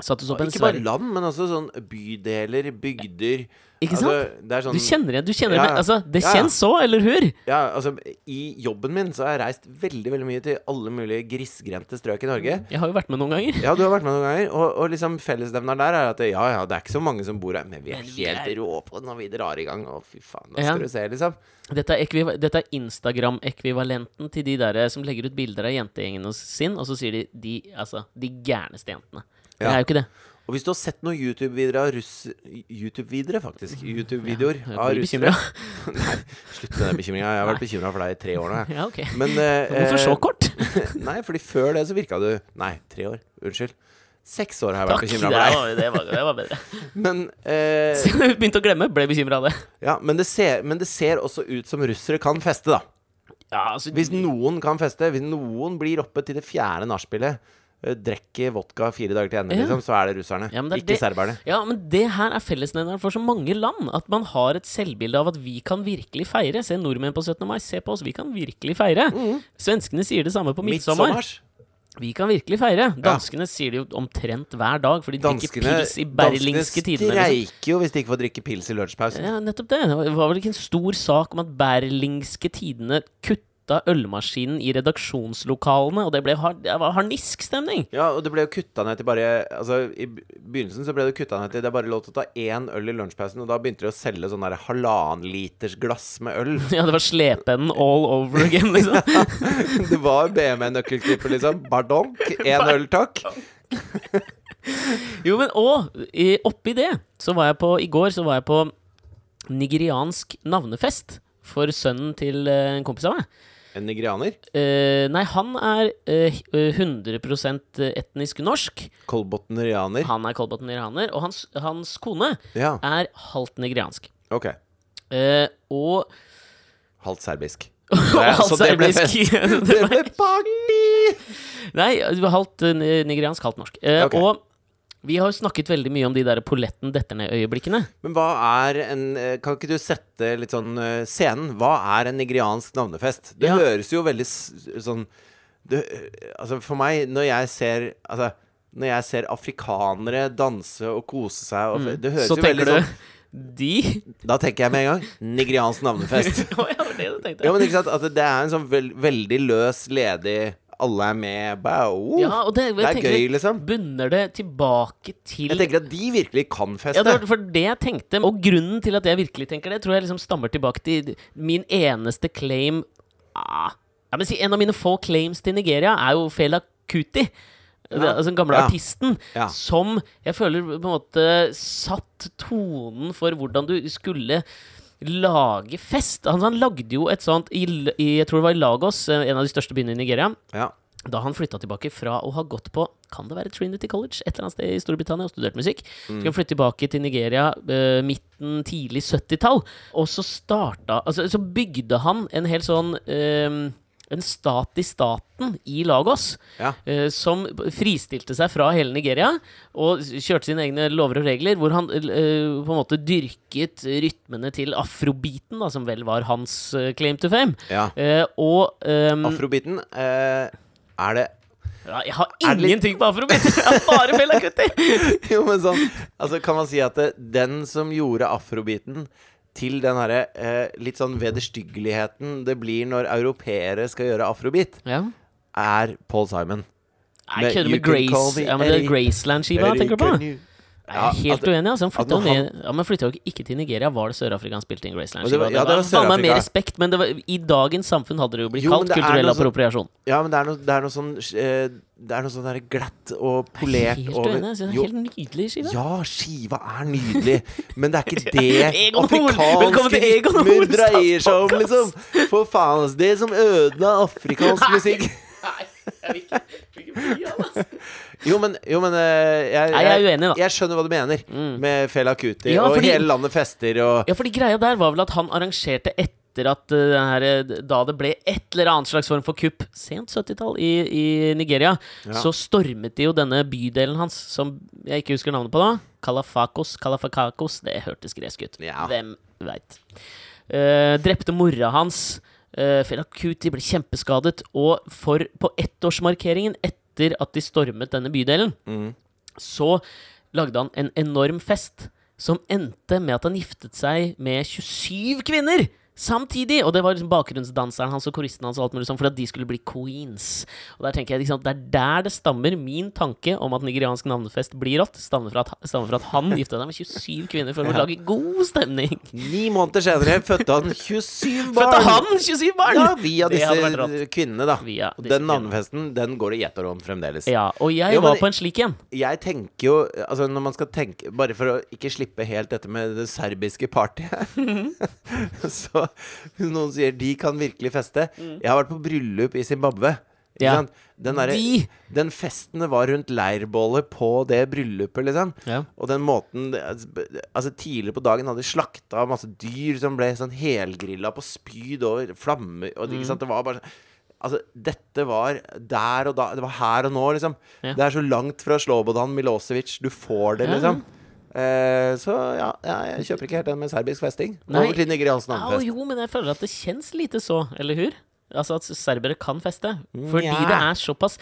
Speaker 1: Satt oss opp en
Speaker 2: Ikke bare
Speaker 1: sverre-
Speaker 2: land, men også sånn bydeler, bygder
Speaker 1: Ikke sant?
Speaker 2: Altså, det er sånn
Speaker 1: Du kjenner det, du kjenner
Speaker 2: Ja,
Speaker 1: det.
Speaker 2: ja.
Speaker 1: Altså, det
Speaker 2: Ja, ja.
Speaker 1: kjennes så, eller hur?
Speaker 2: Ja, altså, I jobben min så har jeg reist veldig veldig mye til alle mulige grisgrendte strøk i Norge.
Speaker 1: Jeg har jo vært med noen ganger.
Speaker 2: Ja, du har vært med noen ganger, og, og liksom fellesnevneren der er at ja, ja, det er ikke så mange som bor her, men vi er
Speaker 1: Men vi
Speaker 2: helt
Speaker 1: er-
Speaker 2: rå på det når vi drar i gang. Å, fy faen, nå
Speaker 1: Ja.
Speaker 2: skal du se, liksom.
Speaker 1: Dette er, ekviva- dette er Instagram-ekvivalenten til de der eh, som legger ut bilder av jentegjengene sin, og så sier de de, altså, de gærneste jentene. Det
Speaker 2: Ja.
Speaker 1: er jo ikke det.
Speaker 2: Og hvis du har sett noen YouTube-videoer av russ... YouTube-videoer, faktisk. YouTube-videoer
Speaker 1: Jeg
Speaker 2: av
Speaker 1: blir
Speaker 2: russere.
Speaker 1: bekymra.
Speaker 2: Nei, slutt med den bekymringa. Jeg har vært bekymra for deg i tre år nå. jeg.
Speaker 1: Ja, ok.
Speaker 2: Men eh,
Speaker 1: Hvorfor så
Speaker 2: eh,
Speaker 1: kort?
Speaker 2: Nei, fordi før det så virka du Nei, tre år. Unnskyld. Seks år har jeg
Speaker 1: Takk,
Speaker 2: vært
Speaker 1: det
Speaker 2: bekymra for
Speaker 1: var, det, var, det var bedre.
Speaker 2: deg. Men eh,
Speaker 1: Så jeg Begynte å glemme, ble bekymra av det.
Speaker 2: Ja, men det, ser, men det ser også ut som russere kan feste, da.
Speaker 1: Ja, altså,
Speaker 2: Hvis noen kan feste, hvis noen blir oppe til det fjerde nachspielet, eh, drikker vodka fire dager til ende,
Speaker 1: Ja.
Speaker 2: liksom, så er det russerne.
Speaker 1: Ja, men det er
Speaker 2: ikke
Speaker 1: det-
Speaker 2: serberne.
Speaker 1: Ja, men det her er fellesnevneren for så mange land. At man har et selvbilde av at vi kan virkelig feire. Se nordmenn på 17. mai, se på oss, vi kan virkelig feire.
Speaker 2: Mm.
Speaker 1: Svenskene sier det samme på midtsommer.
Speaker 2: Midtsommers.
Speaker 1: Vi kan virkelig feire. Danskene sier det jo omtrent hver dag, for de drikker pils i berlingske tidene. Liksom.
Speaker 2: streiker jo hvis de ikke får drikke pils i lunsjpausen.
Speaker 1: Ja, nettopp det. Det var vel ikke en stor sak om at berlingske tidene kutta ølmaskinen i redaksjonslokalene, og det ble hard, det var harniskstemning.
Speaker 2: Ja, og det ble jo kutta ned til bare Altså, i be- begynnelsen så ble det kutta ned til det er bare lov til å ta én øl i lunsjpausen, og da begynte de å selge sånn der halvannen liters glass med øl.
Speaker 1: Ja, det var slepeenden all over again, liksom.
Speaker 2: Det var BME-nøkkelklipper, liksom. Bardonk, én øl, takk.
Speaker 1: Jo, men og i- oppi det så var jeg på I går så var jeg på nigeriansk navnefest for sønnen til eh, en kompis av meg.
Speaker 2: En nigerianer.
Speaker 1: Eh, nei, han er eh, h- eh, 100 etnisk norsk.
Speaker 2: Kolbotnerianer.
Speaker 1: Han er kolbotniraner, og hans, hans kone
Speaker 2: Ja,
Speaker 1: er halvt nigeriansk.
Speaker 2: ok.
Speaker 1: Eh, og
Speaker 2: Halvt serbisk.
Speaker 1: halvt
Speaker 2: så det ble
Speaker 1: serbisk.
Speaker 2: fest. Det
Speaker 1: Det
Speaker 2: ble party!
Speaker 1: Nei, det var halvt eh, nigeriansk, halvt norsk. Eh,
Speaker 2: Ok.
Speaker 1: Og vi har jo snakket veldig mye om de der polletten detter ned-øyeblikkene.
Speaker 2: Men hva er en eh, Kan ikke du sette litt sånn eh, scenen? Hva er en nigeriansk navnefest? Det
Speaker 1: Ja.
Speaker 2: høres jo veldig s- sånn det, Altså, for meg, når jeg ser Altså, når jeg ser afrikanere danse og kose seg og, Det høres
Speaker 1: Mm. Så
Speaker 2: jo
Speaker 1: tenker
Speaker 2: veldig
Speaker 1: du
Speaker 2: sånn
Speaker 1: De
Speaker 2: Da tenker jeg med en gang nigeriansk navnefest.
Speaker 1: Å, ja, det var det du tenkte.
Speaker 2: Ja, men ikke sant? At det er en sånn vel, veldig løs, ledig Alle er med. Bare, oh,
Speaker 1: Ja, og det,
Speaker 2: det
Speaker 1: jeg
Speaker 2: er
Speaker 1: tenker,
Speaker 2: gøy, liksom.
Speaker 1: Bunner det tilbake til
Speaker 2: Jeg tenker at de virkelig kan feste.
Speaker 1: ja, det var for det jeg tenkte, og grunnen til at jeg virkelig tenker det, tror jeg liksom stammer tilbake til min eneste claim ah, ja, men si, En av mine få claims til Nigeria er jo Fela Kuti. Den
Speaker 2: Ja.
Speaker 1: altså den gamle
Speaker 2: Ja.
Speaker 1: artisten
Speaker 2: Ja.
Speaker 1: som jeg føler på en måte satt tonen for hvordan du skulle lage fest. Altså, han lagde jo et sånt i, L- i, Jeg tror det var i Lagos, eh, en av de største byene i Nigeria.
Speaker 2: Ja.
Speaker 1: da han flytta tilbake fra å ha gått på Kan det være Trinity College? Et eller annet sted i Storbritannia og studert musikk. Mm. Skulle flytte tilbake til Nigeria eh, midten, tidlig 70-tall. Og så starta Altså, så bygde han en hel sånn eh, en stat i staten i Lagos
Speaker 2: Ja.
Speaker 1: eh, som fristilte seg fra hele Nigeria og s- kjørte sine egne lover og regler, hvor han eh, på en måte dyrket rytmene til afrobeaten, da, som vel var hans eh, claim to fame.
Speaker 2: ja.
Speaker 1: Eh, og ehm,
Speaker 2: Afrobiten eh, Er det
Speaker 1: ja, jeg har
Speaker 2: Er det litt-
Speaker 1: ingenting på afrobeat! Jeg har bare Bella Cutti!
Speaker 2: Jo, men sånn Altså, kan man si at det, den som gjorde afrobiten til den herre eh, litt sånn vederstyggeligheten det blir når europeere skal gjøre afrobeat,
Speaker 1: Ja.
Speaker 2: er Paul Simon.
Speaker 1: Jeg kødder
Speaker 2: You
Speaker 1: med
Speaker 2: can call
Speaker 1: Grace.
Speaker 2: me
Speaker 1: Ja, men det er
Speaker 2: Eric-
Speaker 1: Graceland-skiva jeg tenker du på.
Speaker 2: Can
Speaker 1: Nei,
Speaker 2: you-
Speaker 1: Jeg er helt
Speaker 2: at-
Speaker 1: uenig. altså. Han flytta
Speaker 2: at
Speaker 1: jo
Speaker 2: han-
Speaker 1: ned Ja, men flytta jo ikke til Nigeria. Var det Sør-Afrika han spilte inn
Speaker 2: Og det
Speaker 1: Graceland-skiva?
Speaker 2: var- ja, det var
Speaker 1: faen meg mer
Speaker 2: Sør-Afrika.
Speaker 1: respekt, men det var, i dagens samfunn hadde det jo blitt
Speaker 2: Jo, men
Speaker 1: kalt
Speaker 2: det er
Speaker 1: kulturell
Speaker 2: noe sånn-
Speaker 1: appropriasjon.
Speaker 2: Ja, men det er noe, det er noe sånn eh, Det er noe sånn der glatt og polert
Speaker 1: Helt
Speaker 2: over
Speaker 1: uenig. Jeg synes det er
Speaker 2: Jo,
Speaker 1: helt nydelig skive.
Speaker 2: Ja, skiva er nydelig, men det er ikke det
Speaker 1: Egon Horn! Velkommen
Speaker 2: afrikanske
Speaker 1: til Egon
Speaker 2: rytmer
Speaker 1: Horns
Speaker 2: dreier seg om, liksom.
Speaker 1: podcast.
Speaker 2: For faen, altså. Det som ødela afrikansk musikk
Speaker 1: Nei, jeg vil ikke, jeg vil ikke bli av, altså.
Speaker 2: Jo, men, jo, men eh, jeg,
Speaker 1: Nei, jeg er uenig, da. Mm.
Speaker 2: Jeg skjønner hva du mener med Fela Kuti
Speaker 1: Ja,
Speaker 2: og
Speaker 1: fordi-
Speaker 2: hele landet fester og
Speaker 1: Ja, fordi greia der var vel at han arrangerte et etter at eh, den her, eh, da det ble et eller annet slags form for kupp, sent 70-tall, i, i Nigeria,
Speaker 2: Ja.
Speaker 1: så stormet de jo denne bydelen hans, som jeg ikke husker navnet på da. Kalafakos, Kalafakakos, det hørtes gresk ut.
Speaker 2: Ja.
Speaker 1: Hvem veit. Eh, drepte mora hans. Uh, Felakuti ble kjempeskadet. Og for, på ettårsmarkeringen etter at de stormet denne bydelen,
Speaker 2: Mm.
Speaker 1: så lagde han en enorm fest som endte med at han giftet seg med 27 kvinner! Samtidig! Og det var liksom bakgrunnsdanseren hans og koristen hans og alt mulig sånn, for at de skulle bli queens. Og der tenker jeg, ikke sant, Det er der det stammer min tanke om at nigeriansk navnefest blir rått. Stammer fra at, stammer fra at han gifta seg med 27 kvinner for å lage god stemning.
Speaker 2: Ni måneder senere fødte han 27 barn!
Speaker 1: Fødte han 27 barn!
Speaker 2: Ja, via
Speaker 1: Det hadde vært
Speaker 2: disse kvinnene, da.
Speaker 1: Via
Speaker 2: Og
Speaker 1: disse
Speaker 2: den
Speaker 1: kvinnene.
Speaker 2: navnefesten, den går det i ett år om fremdeles.
Speaker 1: Ja, og jeg
Speaker 2: Jo, men
Speaker 1: var
Speaker 2: det-
Speaker 1: på en slik en.
Speaker 2: Jeg tenker jo Altså, når man skal tenke Bare for å ikke slippe helt dette med det serbiske partyet
Speaker 1: Mhm.
Speaker 2: Så hvis noen sier de kan virkelig feste Jeg har vært på bryllup i Zimbabwe. Ikke
Speaker 1: Mm. Ja.
Speaker 2: sant? Den, derre-
Speaker 1: De!
Speaker 2: den festen det var rundt leirbålet på det bryllupet, liksom.
Speaker 1: Ja.
Speaker 2: Og den måten det- Altså, tidligere på dagen hadde de slakta masse dyr som ble sånn helgrilla på spyd over flammer og, Ikke
Speaker 1: Mm.
Speaker 2: sant? Det var bare sånn Altså, dette var der og da. Det var her og nå, liksom.
Speaker 1: Ja.
Speaker 2: Det er så langt fra Slobodan Milosevic. Du får det,
Speaker 1: Ja.
Speaker 2: liksom. Eh, så ja, ja, jeg kjøper ikke helt den med serbisk festing.
Speaker 1: Nei.
Speaker 2: Over til nigeriansk
Speaker 1: Ja,
Speaker 2: navnefest.
Speaker 1: jo, men jeg føler at det kjennes lite så, eller hur? Altså at serbere kan feste. Fordi
Speaker 2: Nja.
Speaker 1: det er såpass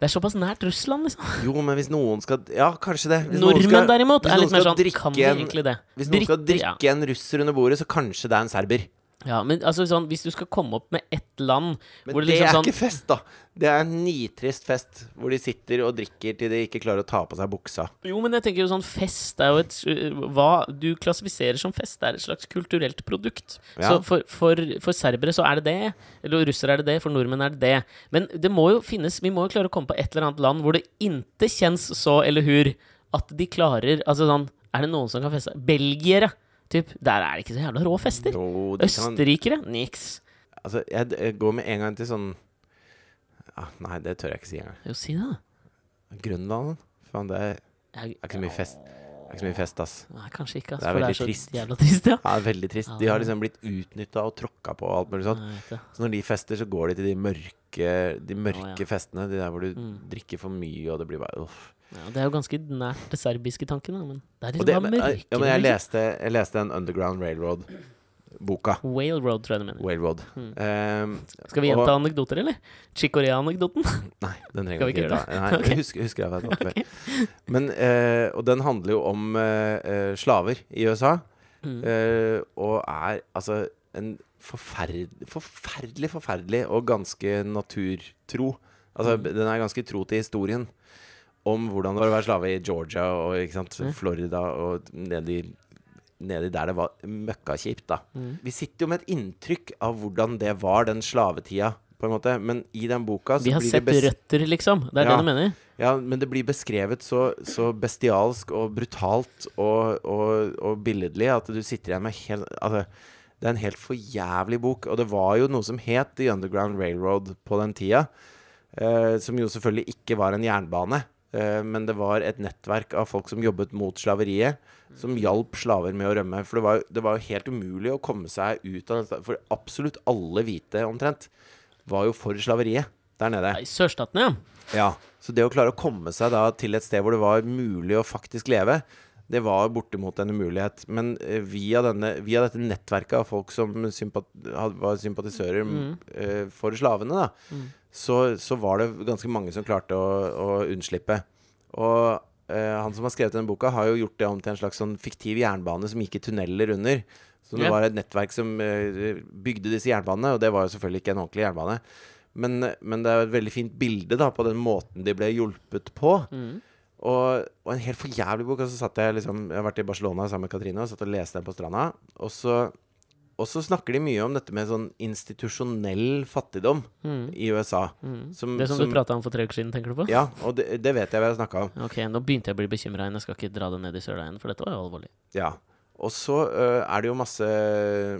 Speaker 1: Det er såpass nært Russland, liksom.
Speaker 2: Jo, men hvis noen skal Ja, kanskje det. Hvis noen
Speaker 1: Nordmenn,
Speaker 2: skal-
Speaker 1: derimot,
Speaker 2: hvis
Speaker 1: er
Speaker 2: noen
Speaker 1: litt mer sånn
Speaker 2: skal
Speaker 1: Kan de
Speaker 2: drikke en-
Speaker 1: egentlig det?
Speaker 2: Hvis noen skal
Speaker 1: Briter, ja.
Speaker 2: drikke en russer under bordet, så kanskje det er en serber.
Speaker 1: Ja, men altså sånn, hvis du skal komme opp med ett land
Speaker 2: Men
Speaker 1: hvor
Speaker 2: det,
Speaker 1: det
Speaker 2: er
Speaker 1: liksom sånn
Speaker 2: ikke fest, da. Det er en nitrist fest hvor de sitter og drikker til de ikke klarer å ta på seg buksa.
Speaker 1: Jo, men jeg tenker jo sånn fest er jo et eh, Hva du klassifiserer som fest, er et slags kulturelt produkt. Så
Speaker 2: Ja.
Speaker 1: for, for, for serbere så er det det. Eller russere er det det. For nordmenn er det det. Men det må jo finnes Vi må jo klare å komme på et eller annet land hvor det inte kjennes så eller hur at de klarer Altså sånn Er det noen som kan feste? Belgiere, typ. Der er det ikke så jævla rå fester.
Speaker 2: Jo, de kan,
Speaker 1: Østerrikere? Niks.
Speaker 2: altså, jeg, jeg går med en gang til sånn ja, Nei, det tør jeg ikke si engang.
Speaker 1: Jo, si det, da.
Speaker 2: Grønland? Faen, det er,
Speaker 1: Jeg,
Speaker 2: det er ikke så mye fest. Det er ikke så mye fest, ass.
Speaker 1: Nei, kanskje ikke, ass,
Speaker 2: Det er
Speaker 1: for det
Speaker 2: veldig
Speaker 1: er så
Speaker 2: trist.
Speaker 1: jævla trist. Ja.
Speaker 2: Ja, det er veldig trist. De har liksom blitt utnytta og tråkka på og alt mulig sånt.
Speaker 1: Nei, vet du.
Speaker 2: Så når de fester, så går de til de mørke, de mørke
Speaker 1: Å, ja.
Speaker 2: festene. De der hvor du
Speaker 1: Mm.
Speaker 2: drikker for mye, og det blir bare uff.
Speaker 1: Ja, det er jo ganske nært det serbiske tanken, da, men det er
Speaker 2: Og
Speaker 1: liksom
Speaker 2: det,
Speaker 1: bare
Speaker 2: men,
Speaker 1: mørkere.
Speaker 2: ja, men jeg,
Speaker 1: liksom.
Speaker 2: leste, jeg leste en Underground Railroad-boka.
Speaker 1: Whale-road, tror jeg du mener.
Speaker 2: Railroad. Ehm,
Speaker 1: Skal vi
Speaker 2: og-
Speaker 1: gjenta anekdoter, eller? Chicorea-anekdoten?
Speaker 2: Nei, den trenger
Speaker 1: Skal
Speaker 2: vi
Speaker 1: vi
Speaker 2: ikke
Speaker 1: ikke
Speaker 2: gjøre. Nei, jeg husker, husker jeg hva jeg tatt før. Men, eh, og den handler jo om eh, eh, slaver i USA.
Speaker 1: Mm.
Speaker 2: eh, og er altså en forferd, forferdelig, forferdelig og ganske naturtro. Altså,
Speaker 1: Mm.
Speaker 2: Den er ganske tro til historien om hvordan det var å være slave i Georgia og ikke sant,
Speaker 1: Mm.
Speaker 2: Florida og nedi, nedi der det var møkkakjipt, da.
Speaker 1: Mm.
Speaker 2: Vi sitter jo med et inntrykk av hvordan det var den slavetida, på en måte. Men i den boka så
Speaker 1: Vi har
Speaker 2: blir
Speaker 1: sett
Speaker 2: det bes-
Speaker 1: røtter, liksom. Det er
Speaker 2: Ja.
Speaker 1: det du mener?
Speaker 2: ja, men det blir beskrevet så, så bestialsk og brutalt og, og, og billedlig at du sitter igjen med helt altså, Det er en helt forjævlig bok. Og det var jo noe som het The Underground Railroad på den tida. Eh, som jo selvfølgelig ikke var en jernbane, eh, men det var et nettverk av folk som jobbet mot slaveriet, som hjalp slaver med å rømme. For det var, jo- det var jo helt umulig å komme seg ut av dette. For absolutt alle hvite, omtrent, var jo for slaveriet der nede.
Speaker 1: Nei, sørstatene, ja.
Speaker 2: Ja, så det å klare å komme seg da til et sted hvor det var mulig å faktisk leve, det var bortimot en umulighet. Men eh, via, denne, via dette nettverket av folk som sympat had- var sympatisører m- eh, for slavene, da, så, så var det ganske mange som klarte å, å unnslippe. Og eh, han som har skrevet denne boka, har jo gjort det om til en slags sånn fiktiv jernbane som gikk i tunneler under. Så det
Speaker 1: Ja.
Speaker 2: var et nettverk som eh, bygde disse jernbanene, og det var jo selvfølgelig ikke en ordentlig jernbane. Men, men det er et veldig fint bilde da, på den måten de ble hjulpet på.
Speaker 1: Mm.
Speaker 2: Og, og en helt forjævlig bok. Og så satt jeg liksom Jeg har vært i Barcelona sammen med Katrine og satt og leste den på stranda. Og så, og så snakker de mye om dette med sånn institusjonell fattigdom i USA. Som,
Speaker 1: Mm. Det som, du prata om for tre uker siden, tenker du på?
Speaker 2: Mm. Ja, og det, det vet jeg vi har snakka om.
Speaker 1: Ok, nå begynte jeg å bli bekymra igjen. Jeg skal ikke dra det ned i søla igjen, for dette var jo alvorlig.
Speaker 2: Ja. Og så ø, er det jo masse,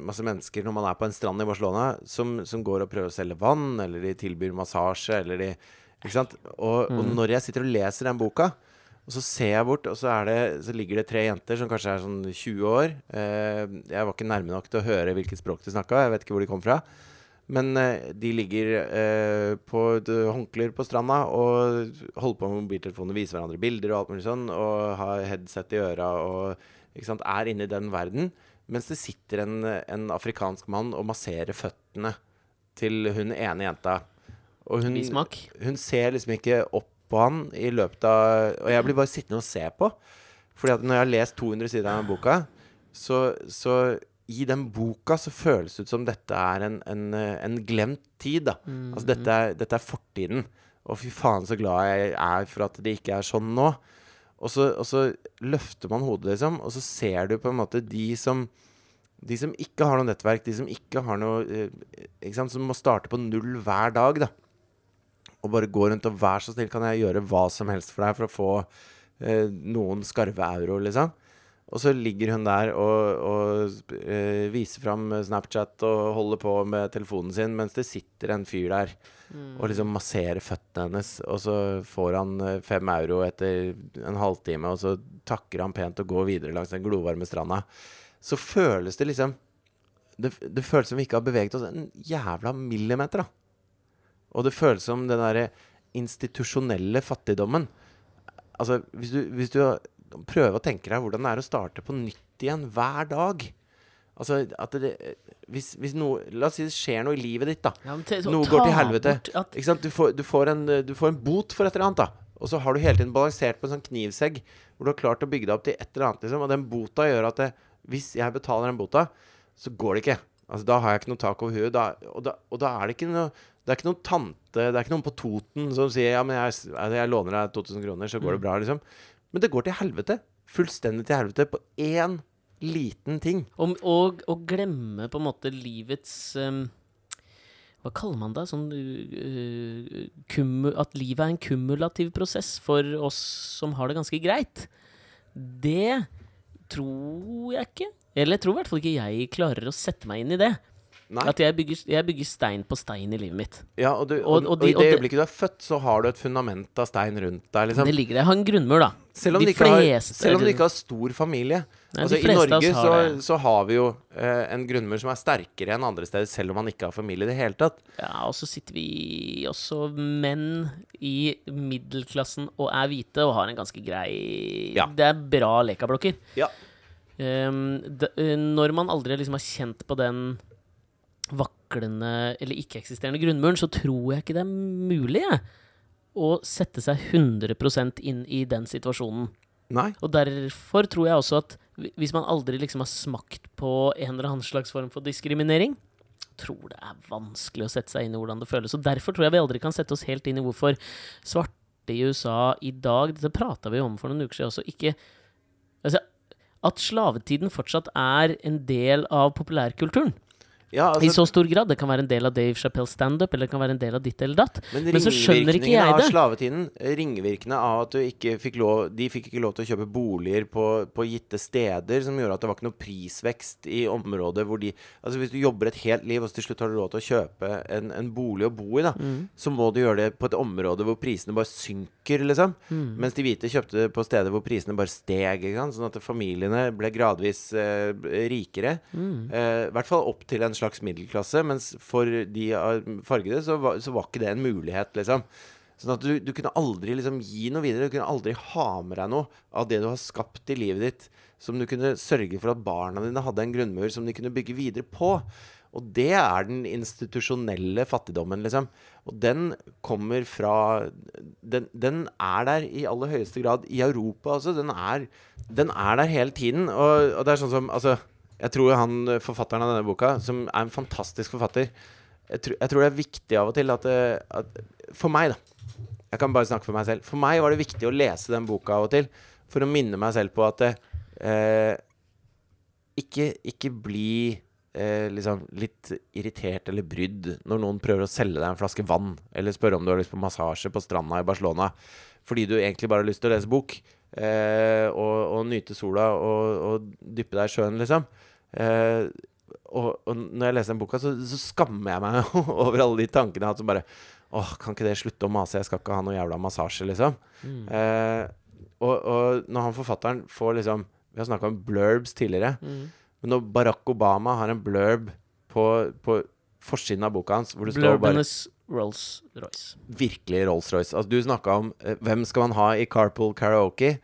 Speaker 2: masse mennesker når man er på en strand i Barcelona, som, som går og prøver å selge vann, eller de tilbyr massasje, eller de Ikke sant? Og, og når jeg sitter og leser den boka, og Og så ser jeg bort, og så, er det, så ligger det tre jenter som kanskje er sånn 20 år. Eh, jeg var ikke nærme nok til å høre hvilket språk de snakka. Jeg vet ikke hvor de kom fra. Men eh, de ligger eh, på d- håndklær på stranda og holder på med mobiltelefonen og viser hverandre bilder og alt mulig sånn, og har headset i øra og ikke sant, er inne i den verden. Mens det sitter en, en afrikansk mann og masserer føttene til hun ene jenta. Og hun,
Speaker 1: Bismak.
Speaker 2: hun ser liksom ikke opp på han i løpet av Og jeg blir bare sittende og se på. Fordi at når jeg har lest 200 sider av den boka, så, så i den boka så føles det ut som dette er en, en, eh, en glemt tid, da. Altså dette er, dette er fortiden. Og fy faen så glad jeg er for at det ikke er sånn nå. Og så, og så løfter man hodet, liksom, og så ser du på en måte de som de som ikke har noe nettverk, de som ikke har noe eh, ikke sant, Som må starte på null hver dag, da og bare gå rundt og vær så snill, kan jeg gjøre hva som helst for deg for å få eh, noen skarve euro, liksom. Og så ligger hun der og, og eh, viser fram Snapchat og holder på med telefonen sin mens det sitter en fyr der og liksom masserer føttene hennes. Og så får han eh, fem euro etter en halvtime, og så takker han pent og går videre langs den glovarme stranda. Så føles det liksom det, det føles som vi ikke har beveget oss en jævla millimeter, da. Og det føles som den derre institusjonelle fattigdommen. Altså, hvis du, hvis du prøver å tenke deg hvordan det er å starte på nytt igjen hver dag Altså, at det Hvis, hvis noe La oss si det skjer noe i livet ditt, da.
Speaker 1: Ja, men te- så
Speaker 2: Noe
Speaker 1: ta
Speaker 2: går til helvete.
Speaker 1: bort At,
Speaker 2: Ikke sant? Du, får, du, får en, du får en bot for et eller annet, da. Og så har du hele tiden balansert på en sånn knivsegg hvor du har klart å bygge deg opp til et eller annet. Liksom. Og den bota gjør at det, hvis jeg betaler den bota, så går det ikke. Altså, da har jeg ikke noe tak over huet. Da, og, da, og da er det ikke noe det er ikke noen tante, det er ikke noen på Toten som sier ja, men jeg, altså, jeg låner deg 2000 kroner, så går det bra, liksom. Men det går til helvete. Fullstendig til helvete på én liten ting.
Speaker 1: om, og, og glemme på en måte livets ehm, Hva kaller man det? Sånn, øh, kummu- at livet er en kumulativ prosess for oss som har det ganske greit. Det tror jeg ikke. Eller jeg tror i hvert fall ikke jeg klarer å sette meg inn i det.
Speaker 2: Nei.
Speaker 1: At jeg bygger, jeg bygger stein på stein i livet mitt.
Speaker 2: Ja, og, du,
Speaker 1: Og-
Speaker 2: og,
Speaker 1: og
Speaker 2: og,
Speaker 1: de-
Speaker 2: i
Speaker 1: og
Speaker 2: det
Speaker 1: det-
Speaker 2: øyeblikket du er født, så har du et fundament av stein rundt deg. Liksom.
Speaker 1: Det ligger der. Jeg har en grunnmur, da.
Speaker 2: Selv om,
Speaker 1: de
Speaker 2: du ikke har,
Speaker 1: fleste-
Speaker 2: selv om du ikke har stor familie.
Speaker 1: Nei,
Speaker 2: altså,
Speaker 1: de
Speaker 2: I
Speaker 1: fleste av
Speaker 2: Norge
Speaker 1: oss
Speaker 2: så,
Speaker 1: har det.
Speaker 2: så har vi jo eh, en grunnmur som er sterkere enn andre steder, selv om man ikke har familie i det hele tatt.
Speaker 1: Ja, og så sitter vi også menn i middelklassen og er hvite og har en ganske grei
Speaker 2: Ja.
Speaker 1: Det er bra lekablokker.
Speaker 2: Ja.
Speaker 1: Ehm, d- eh, når man aldri liksom har kjent på den vaklende eller ikke-eksisterende grunnmuren, så tror jeg ikke det er mulig jeg, å sette seg 100 inn i den situasjonen.
Speaker 2: Nei.
Speaker 1: Og derfor tror jeg også at hvi- hvis man aldri liksom har smakt på en eller annen slags form for diskriminering, tror det er vanskelig å sette seg inn i hvordan det føles. Og derfor tror jeg vi aldri kan sette oss helt inn i hvorfor svarte i USA i dag Dette prata vi jo om for noen uker siden også. Ikke Altså, at slavetiden fortsatt er en del av populærkulturen.
Speaker 2: Ja,
Speaker 1: I
Speaker 2: altså,
Speaker 1: så stor grad. Det kan være en del av Dave Chappelles standup, eller det kan være en del av ditt eller datt.
Speaker 2: men
Speaker 1: men så skjønner ikke jeg
Speaker 2: ringvirkningene av
Speaker 1: det.
Speaker 2: slavetiden, ringvirkene av at du ikke fikk lov De fikk ikke lov til å kjøpe boliger på, på gitte steder, som gjorde at det var ikke noe prisvekst i området hvor de Altså, hvis du jobber et helt liv, og så til slutt har du råd til å kjøpe en, en bolig å bo i, da, så må du gjøre det på et område hvor prisene bare synker, liksom. Mens de hvite kjøpte det på steder hvor prisene bare steg, ikke sant? sånn at familiene ble gradvis eh, rikere. Eh, I hvert fall opp til en slags middelklasse, mens for de av fargede så var, så var ikke det en mulighet, liksom. Sånn at du, du kunne aldri liksom gi noe videre, du kunne aldri ha med deg noe av det du har skapt i livet ditt, som du kunne sørge for at barna dine hadde en grunnmur som de kunne bygge videre på. Og det er den institusjonelle fattigdommen, liksom. Og den kommer fra Den, den er der i aller høyeste grad i Europa, altså. Den er, den er der hele tiden. Og, og det er sånn som Altså, jeg tror han eh, forfatteren av denne boka, som er en fantastisk forfatter Jeg, tror- jeg tror det er viktig av og til at, eh, at For meg, da. Jeg kan bare snakke for meg selv. For meg var det viktig å lese den boka av og til for å minne meg selv på at eh, ikke, ikke bli eh, liksom litt irritert eller brydd når noen prøver å selge deg en flaske vann, eller spørre om du har lyst på massasje på stranda i Barcelona, fordi du egentlig bare har lyst til å lese bok eh, og, og nyte sola og, og dyppe deg i sjøen, liksom. Eh, og, og når jeg leser den boka, så, så skammer jeg meg over alle de tankene jeg har hatt som Mm. bare Åh, kan ikke det slutte å mase? Jeg skal ikke ha noe jævla massasje, liksom. Eh, og, og når han forfatteren får liksom Vi har snakka om blurbs tidligere.
Speaker 1: Mm.
Speaker 2: Men når Barack Obama har en blurb på, på forsiden av boka hans, hvor det står bare
Speaker 1: Blurbenes Rolls-Royce.
Speaker 2: virkelig Rolls-Royce Altså, du snakka om eh, hvem skal man ha i carpool karaoke.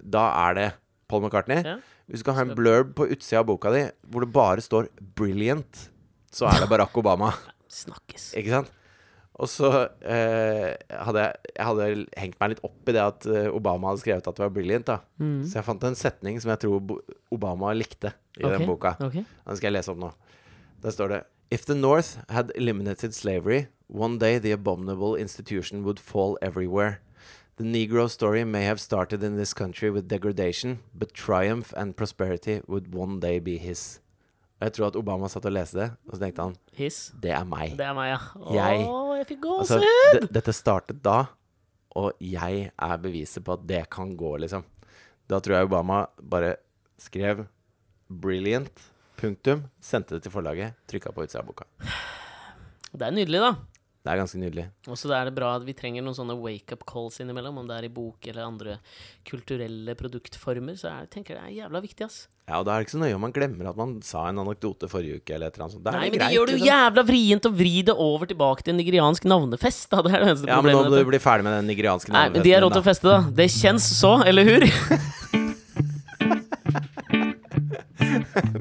Speaker 2: Da er det Paul McCartney.
Speaker 1: Ja.
Speaker 2: Hvis du skal ha en blurb på utsida av boka di hvor det bare står 'brilliant', så er det Barack Obama.
Speaker 1: Snakkes.
Speaker 2: Ikke sant? Og så eh, hadde jeg, jeg hadde hengt meg litt opp i det at eh, Obama hadde skrevet at det var brilliant. da
Speaker 1: Mm.
Speaker 2: Så jeg fant en setning som jeg tror Bo- Obama likte i
Speaker 1: Ok,
Speaker 2: den boka.
Speaker 1: ok.
Speaker 2: Den skal jeg lese opp nå. Der står det If the North had eliminated slavery, one day the abominable institution would fall everywhere. The Negro story may have started in this country with degradation, but triumph and prosperity would one day be his. Og Jeg tror at Obama satt og leste det, og så tenkte han
Speaker 1: Hiss.
Speaker 2: det er meg.
Speaker 1: Det er meg, ja. Å,
Speaker 2: Jeg-
Speaker 1: jeg fikk
Speaker 2: Altså,
Speaker 1: gåsehud!
Speaker 2: d- dette startet da, og jeg er beviset på at det kan gå, liksom. Da tror jeg Obama bare skrev 'brilliant', punktum, sendte det til forlaget, trykka på utsida av boka.
Speaker 1: det er nydelig, da.
Speaker 2: Det er ganske nydelig.
Speaker 1: Og så er det bra at vi trenger noen sånne wake-up calls innimellom, om det er i bok eller andre kulturelle produktformer, så jeg tenker det er jævla viktig, ass.
Speaker 2: Ja, og da er det ikke så nøye om man glemmer at man sa en anekdote forrige uke, eller et eller annet sånt. Da er
Speaker 1: Nei,
Speaker 2: det
Speaker 1: men
Speaker 2: greit,
Speaker 1: det gjør det jo
Speaker 2: liksom.
Speaker 1: jævla vrient å vri det over tilbake til en nigeriansk navnefest, da. Det er det eneste
Speaker 2: Ja, men nå
Speaker 1: problemet.
Speaker 2: må
Speaker 1: med
Speaker 2: du
Speaker 1: dette.
Speaker 2: bli ferdig med den nigerianske
Speaker 1: Nei, men de har råd til å feste, da. Det kjennes så, eller hur?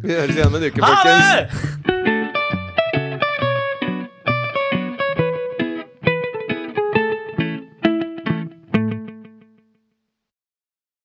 Speaker 2: Vi høres igjen om en uke,
Speaker 1: Ha
Speaker 2: folkens.
Speaker 1: det!